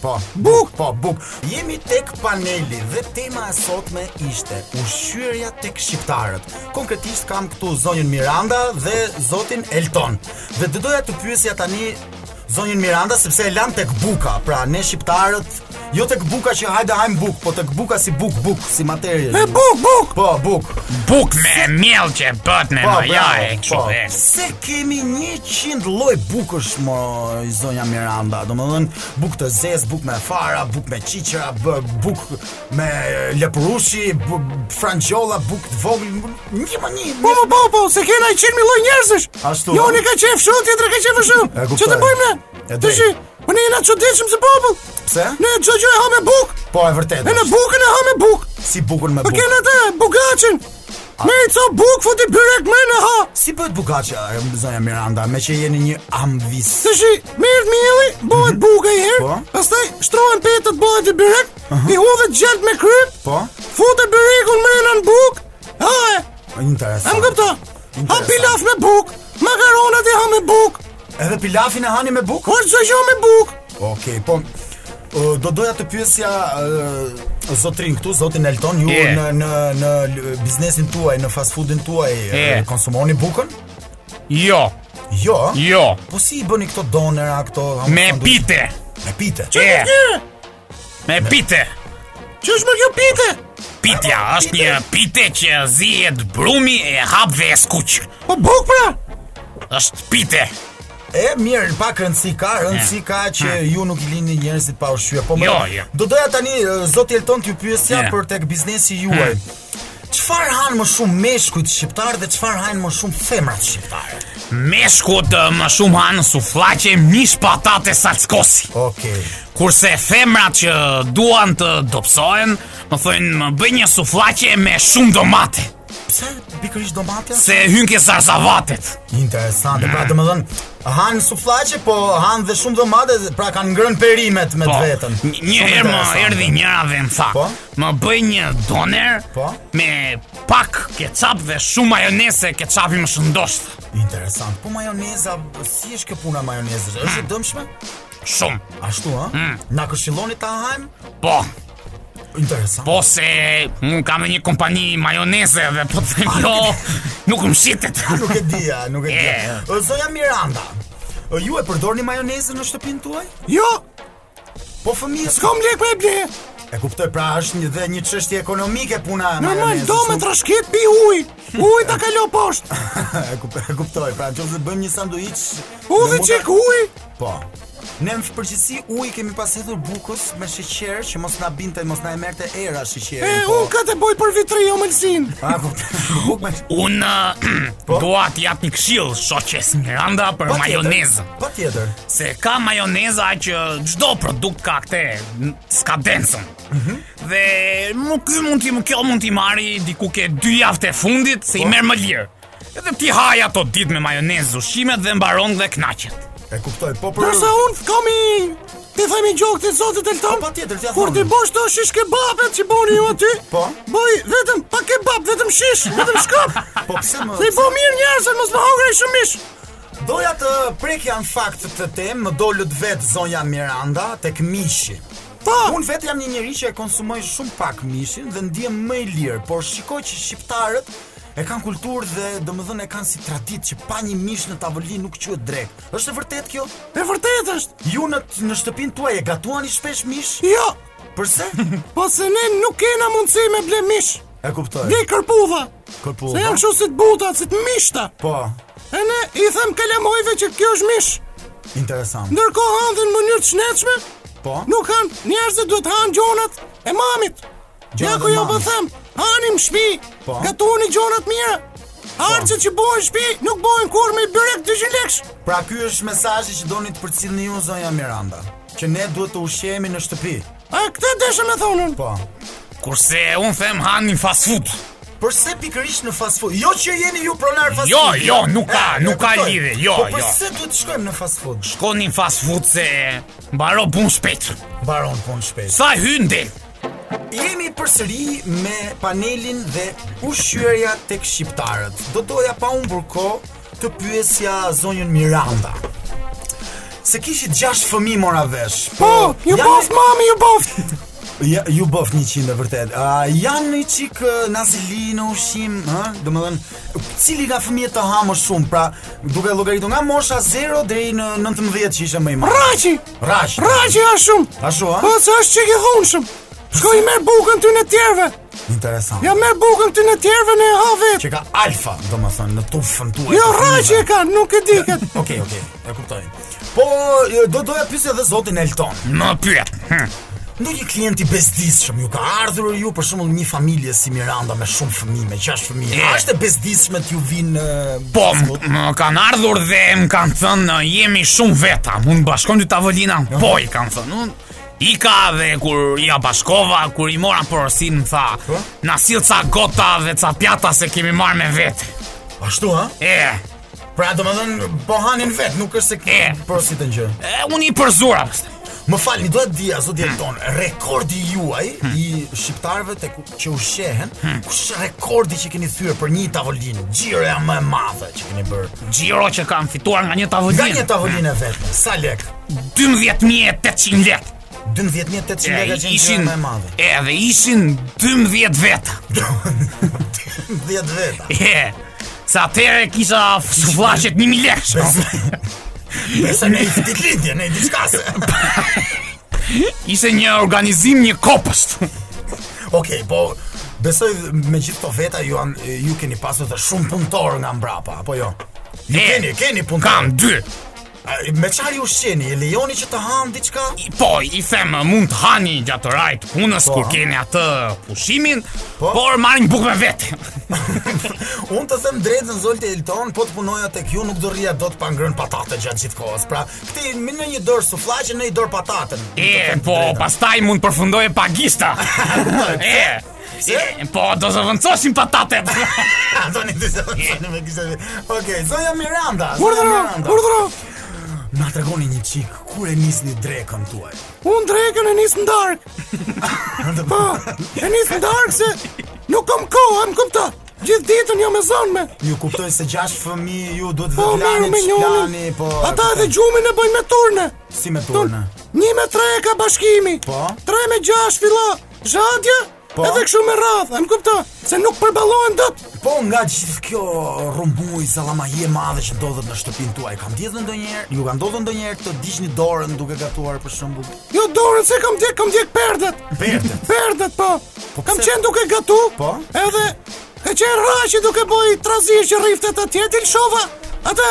Speaker 5: Po, buk, po, buk. Jemi tek paneli dhe tema e sotme ishte ushqyerja tek shqiptarët. Konkretisht kam këtu zonjën Miranda dhe zotin Elton. Dhe do doja të pyesja tani zonjën Miranda sepse e lan tek buka. Pra ne shqiptarët jo tek buka që hajde hajm buk, po tek buka si buk buk, si materie. E buk buk. Po, buk.
Speaker 6: Buk me mjell që bët me
Speaker 5: Po,
Speaker 6: ma ja
Speaker 5: bravo,
Speaker 6: e kështu
Speaker 5: po.
Speaker 6: e.
Speaker 5: Se kemi 100 lloj bukësh mo zonja Miranda. Domethën buk të zez, buk me fara, buk me qiqra, b- buk me lepurushi, bu- frangjolla, buk të vogël. Një më një. Po po po, se kena 100 mijë lloj njerëzish. Ashtu. Jo, ne ka qef shumë, tjetër ka qef shumë. Ço të bëjmë ne? Të shi. Po ne jena çuditshëm si popull. Pse? Ne çdo gjë e ha me buk. Po e vërtetë. Ne bukën e ha me buk. Si bukën me buk? Po kena atë bugaçin. Me i co buk futi byrek me në ha Si bëhet bukaqa, zonja Miranda, me që jeni një amvis Të shi, mirët mjeli, bëhet buka i herë Mhm. po? Pastaj, shtrohen petët bëhet i byrek I hudhet gjelt me kry Po? Fute byrekun me në në buk Ha e Interesant Em këpta Ha pilaf me buk Makaronat i ha me buk Edhe pilafin e hani me buk?
Speaker 6: po
Speaker 5: Hoqë që që me buk Okej, po Uh, do doja të pyesja uh, zotrin këtu, zotin Elton, ju
Speaker 6: Je.
Speaker 5: në në në l- biznesin tuaj, në fast foodin tuaj uh,
Speaker 6: Je.
Speaker 5: konsumoni bukën?
Speaker 6: Jo,
Speaker 5: Jo.
Speaker 6: jo,
Speaker 5: Po si i bëni këto donera këto? ha,
Speaker 6: me
Speaker 5: sandu-
Speaker 6: pite
Speaker 5: Me pite.
Speaker 6: E Me pite Që është më kjo pite? Pitja është një pite që zihet brumi e hap dhe e skuq Po buk pra është pite
Speaker 5: E mirë, pak rëndësi ka, rëndësi ka që ju nuk i lini njerëzit pa ushqyer. Po më.
Speaker 6: Eh. Jo, jo. Eh.
Speaker 5: Do doja tani uh, zoti Elton t'ju pyesja
Speaker 6: Je.
Speaker 5: për tek biznesi juaj.
Speaker 6: Eh.
Speaker 5: Çfarë han më shumë meshkujt shqiptar dhe çfarë hajnë më shumë femrat shqiptare?
Speaker 6: Meshkut ë, më shumë hanë suflaqe, mish patate salskosi.
Speaker 5: Okej.
Speaker 6: Kurse femrat që duan të dopsohen, më thojnë më bëj një suflaqe me shumë domate,
Speaker 5: Pse pikërisht domatja?
Speaker 6: se Eh. hyn ke zarzavatet.
Speaker 5: Interesante, pra të më dhënë Hanë suflaqe, po hanë dhe shumë dhëmate Pra kanë ngrën perimet me
Speaker 6: Po,
Speaker 5: të vetën
Speaker 6: n- një
Speaker 5: Shumë
Speaker 6: herë më
Speaker 5: interesante.
Speaker 6: erdhi njëra dhe më tha,
Speaker 5: Po?
Speaker 6: më bëj një doner
Speaker 5: Po?
Speaker 6: me pak ketchup dhe shumë majonese, ketchupi më shëndosh. tha.
Speaker 5: Interesant, po majoneza, si është kjo puna e majonezës? është e dëmshme?
Speaker 6: Shumë.
Speaker 5: Ashtu, ha?
Speaker 6: Hmm.
Speaker 5: Na këshilloni ta hajmë?
Speaker 6: Po,
Speaker 5: Interesant
Speaker 6: po se unë kam dhe një kompani majonese dhe po të them jo, nuk më shitet.
Speaker 5: Nuk e dija, nuk e dija
Speaker 6: E.
Speaker 5: O, Zoja Miranda o, Ju e përdorni majonezën në shtëpinë tuaj?
Speaker 6: Jo,
Speaker 5: Po fëmijës
Speaker 6: s'kam lek me ble.
Speaker 5: E kuptoj, pra është një dhe një çështje ekonomike puna e
Speaker 6: Normal,
Speaker 5: majonezës
Speaker 6: do me
Speaker 5: nuk-
Speaker 6: trashkit pi uj. Uj ta kalo poshtë.
Speaker 5: E kup- e kuptoj, pra në qoftë se bëjmë një sanduiç
Speaker 6: U dhe
Speaker 5: në mund ta-
Speaker 6: qek uj.
Speaker 5: Po.
Speaker 7: Pa,
Speaker 5: Ne në përgjithësi ujë kemi pas hedhur bukës me sheqer që mos na binte, mos na e merrte era po
Speaker 6: E,
Speaker 5: sheqerin.
Speaker 6: unë ka të boj për vitri o mëlsin.
Speaker 5: A kuptoj. Bukë me
Speaker 6: Unë
Speaker 5: Po?
Speaker 6: dua të jap një këshill shoqes Miranda për majonezën,
Speaker 5: Patjetër.
Speaker 6: se ka majoneza që çdo produkt ka këtë n- skadencën. Dhe nuk ky mund ti kjo mund ti marri diku ke dy javë të fundit se i merr më lirë. Edhe ti haj ato ditë me majonezë ushqimet dhe mbaron dhe knaqet.
Speaker 5: E kuptoj, po për
Speaker 6: Përsa unë kam i... Ti themi gjokë të zotit e
Speaker 5: Po, patjetër, t'ja
Speaker 6: Kur
Speaker 5: them.
Speaker 6: ti bosh të shish kebabet që boni ju aty
Speaker 5: Po.
Speaker 6: Boj vetëm pa kebab, vetëm shish, vetëm shkop
Speaker 5: Po pse më
Speaker 6: Dhe i bo mirë njerëzën, mos më hongrej shumë mish
Speaker 5: Doja të prekja në fakt të temë, më dolët vetë zonja Miranda tek mishi.
Speaker 6: Po,
Speaker 5: Unë vetë jam një njeri që e konsumoj shumë pak mishin dhe ndihem më i lirë, por shikoj që shqiptarët e kanë kulturë dhe domethënë e kanë si traditë që pa një mish në tavolinë nuk quhet drek. Është e vërtet kjo?
Speaker 6: e vërtet është
Speaker 5: Ju në në shtëpinë tuaj e gatuani shpesh mish?
Speaker 6: Jo,
Speaker 5: Përse?
Speaker 6: po se ne nuk kena mundësi me ble mish
Speaker 5: E kuptoj.
Speaker 6: Ble kërpudha
Speaker 5: Kërpudha?
Speaker 6: Se janë kështu si të buta, si të mishta
Speaker 5: Po,
Speaker 6: E ne i them kalamojve që kjo është mish
Speaker 5: interesant.
Speaker 6: Ndërkohë hanë dhe në mënyrë të shnetshme
Speaker 5: Po.
Speaker 6: Nuk hanë, njerëzit duhet hanë gjonat e mamit. Ja
Speaker 5: Gjonat
Speaker 6: ku
Speaker 5: e
Speaker 6: jo po
Speaker 5: mamit.
Speaker 6: them, hani në shtëpi.
Speaker 5: Po.
Speaker 6: Gatuni gjonat mira. Harçet që bëhen në shtëpi nuk bëhen kur me byrek 200 lekësh.
Speaker 5: Pra ky është mesazhi që doni të përcjellni ju zonja Miranda, që ne duhet të ushqehemi në shtëpi.
Speaker 6: A këtë desha me thonën.
Speaker 5: Po.
Speaker 6: Kurse un them hani fast food.
Speaker 5: Përse pikërisht në fast food? Jo që jeni ju pronar fast
Speaker 6: Jo,
Speaker 5: food.
Speaker 6: jo, nuk ka-
Speaker 5: E, e
Speaker 6: nuk ka
Speaker 5: kuptoj.
Speaker 6: lidhje, jo,
Speaker 5: po,
Speaker 6: jo.
Speaker 5: Përse duhet të shkojmë në fast food?
Speaker 6: Shkoni në fast food se mbaro pun shpejt.
Speaker 5: Baron punë shpejt.
Speaker 6: Sa hyn del.
Speaker 5: Jemi përsëri me panelin dhe ushqyerja tek shqiptarët. Do doja pa humbur kohë të pyesja zonjën Miranda. se kishit 6 fëmijë mora vesh.
Speaker 10: Po, ju
Speaker 5: janë-
Speaker 10: boft mami, ju boft.
Speaker 5: Ja, ju bof 100 e vërtet. A janë një çik ë, nazili në ushqim, ë? Domethënë, cili nga fëmijët të ha më shumë? Pra, duke llogaritur nga mosha 0 deri në 19 që ishte më i madh.
Speaker 10: Raçi,
Speaker 5: Rash.
Speaker 10: raçi është shumë.
Speaker 5: Ashtu,
Speaker 10: Po
Speaker 5: a?
Speaker 10: s'është çik i dhunshëm. Shkoj merr bukën ty në tjerëve.
Speaker 5: Interesant.
Speaker 10: Ja merr bukën ty në tjerëve në ha vet.
Speaker 5: Që ka alfa, domethënë, në tufën tuaj.
Speaker 10: Jo raçi e kanë, nuk e diket.
Speaker 5: Okej, okej, e kuptoj. Po e, do doja pyesja edhe zotin Elton.
Speaker 6: Më pyet. Hm.
Speaker 5: Ndonjë klient i bezdisshëm ju ka ardhur ju për shembull një familje si Miranda me shumë fëmijë, me 6 fëmijë.
Speaker 6: Yeah.
Speaker 5: A është e bezdisshme t'ju vinë e,
Speaker 6: Po,
Speaker 5: bashkut?
Speaker 6: m- më kanë ardhur dhe më kanë thënë "Në, jemi shumë veta, mund bashkojmë dy tavolina. Po, i kanë thënë. Unë Ika dhe kur ja bashkova, kur i mora porosin më tha
Speaker 5: Po.
Speaker 6: Na silë ca gota dhe ca pjata se kemi marrë me vetë
Speaker 5: po, Ashtu, ha?
Speaker 6: E,
Speaker 5: Pra do më dhënë po hanin vetë, nuk është se ke
Speaker 6: E.
Speaker 5: prosit të gjë.
Speaker 6: e unë i përzura
Speaker 5: Më falë, një duhet dhja, zot tonë, rekordi juaj i shqiptarëve të që u shehen, kush rekordi që keni thyrë për një tavolinë, gjirëja më e madhe që keni bërë.
Speaker 6: Gjiro që kam fituar nga një
Speaker 5: Nga
Speaker 6: tavolinë
Speaker 5: një tavolinë e vetë, sa lek?
Speaker 6: 12.800 lek
Speaker 5: 12.800
Speaker 6: E,
Speaker 5: leka që në
Speaker 6: ishin
Speaker 5: gjirë më e madhe.
Speaker 6: E, dhe ishin 12 vetë
Speaker 5: 10 veta.
Speaker 6: E, sa atere kisha suflashet 1000 lek
Speaker 5: Nëse ne i fitit lindje, ne i diskase.
Speaker 6: Ishte një organizim një kopësht
Speaker 5: Okej, po, besoj me gjithë të veta ju, an- ju keni pasur të shumë punëtor nga mbrapa, apo jo? Ju
Speaker 6: E,
Speaker 5: keni, keni punëtor.
Speaker 6: Kam dy
Speaker 5: A, Me qarë ju shqeni, e lejoni që të hanë diçka?
Speaker 6: I- Po, i them mund të hani gjatë rajt punës
Speaker 5: Po.
Speaker 6: kur keni atë pushimin
Speaker 5: Po.
Speaker 6: Por marrin bukë me vetë
Speaker 5: Unë të them drejtën Zolti Elton, po të punoja tek ju nuk do rria dot pa ngrën patate gjatë gjithë kohës. Pra, kthi më në një dorë sufllaqe, në një dorë patatën.
Speaker 6: E, po, pastaj mund përfundoj e pagista E,
Speaker 5: Pse?
Speaker 6: e, po, do zëvëndësoshim patatet
Speaker 5: Antoni ti se vjen me kishte. Okej, zonja Miranda. zonja
Speaker 10: Urdhro,
Speaker 5: Miranda.
Speaker 10: urdhro.
Speaker 5: Na tregoni një çik kur e nisni drekën tuaj.
Speaker 10: Unë drekën e nisë në darkë. Po, e nisë në darkë se nuk kom kohë, më kupta. Gjithë ditën jo jam e zonme.
Speaker 5: Ju kuptoj se gjashtë fëmijë ju duhet
Speaker 10: Po, merë
Speaker 5: vetlani,
Speaker 10: me
Speaker 5: çlani,
Speaker 10: njënin.
Speaker 5: po.
Speaker 10: Ata edhe gjumin e bëjnë me turne.
Speaker 5: si me
Speaker 10: Ton,
Speaker 5: turna.
Speaker 10: Një me tre ka bashkimi.
Speaker 5: Po.
Speaker 10: Tre me gjashtë filla. Zhatja.
Speaker 5: Po.
Speaker 10: Edhe kështu me radhë, më kupta. Se nuk përballohen dot.
Speaker 5: Po nga gjithë kjo rrumbuj sallamaje e madhe që ndodhet në shtëpinë tuaj, kam ndjedhur ndonjëherë? Ju ka ndodhur ndonjëherë të diqni dorën duke gatuar për shembull?
Speaker 10: Jo dorën se kam djek, kam djek perdet.
Speaker 5: Perdet?
Speaker 10: Perdet, po.
Speaker 5: Po
Speaker 10: kam
Speaker 5: pse-
Speaker 10: qenë duke gatu.
Speaker 5: Po?
Speaker 10: Edhe e qenë raqi duke boj trazirë që riftet atje, ti lëshova atë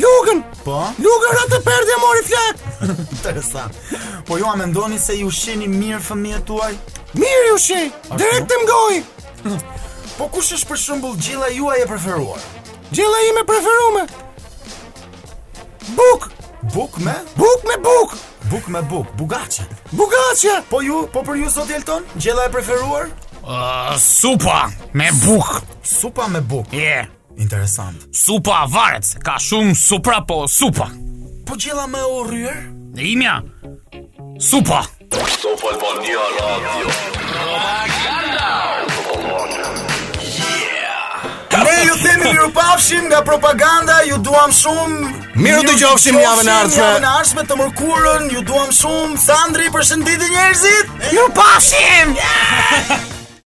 Speaker 10: lugën.
Speaker 5: Po?
Speaker 10: Lugën atë perdja mori flak.
Speaker 5: Interesant. Po ju a mendoni se ju shihni mirë fëmijët tuaj?
Speaker 10: Mirë ju shi, direkt të mgoj.
Speaker 5: Po kush është për shembull gjilla juaj e preferuar?
Speaker 10: Gjela ime preferume. Buk,
Speaker 5: Buk me?
Speaker 10: buk me buk.
Speaker 5: Buk me buk, bugaçe.
Speaker 10: Bugacja.
Speaker 5: Po ju, po për ju zot Elton, gjella e preferuar?
Speaker 6: Ë, Uh, Supa me bukë
Speaker 5: Supa me buk.
Speaker 6: E,
Speaker 5: Interesant.
Speaker 6: supa varet se Ka shumë supra, po supa
Speaker 5: Po gjella me u rryer?
Speaker 6: Dhe imja Supa
Speaker 5: Ne ju themi miru pafshim nga propaganda, ju duam shumë.
Speaker 10: Miru të qofshim në javën e ardhshme.
Speaker 5: Javën e ardhshme të mërkurën, ju duam shumë. Sandri, përshëndetje njerëzit.
Speaker 6: Ju pafshim!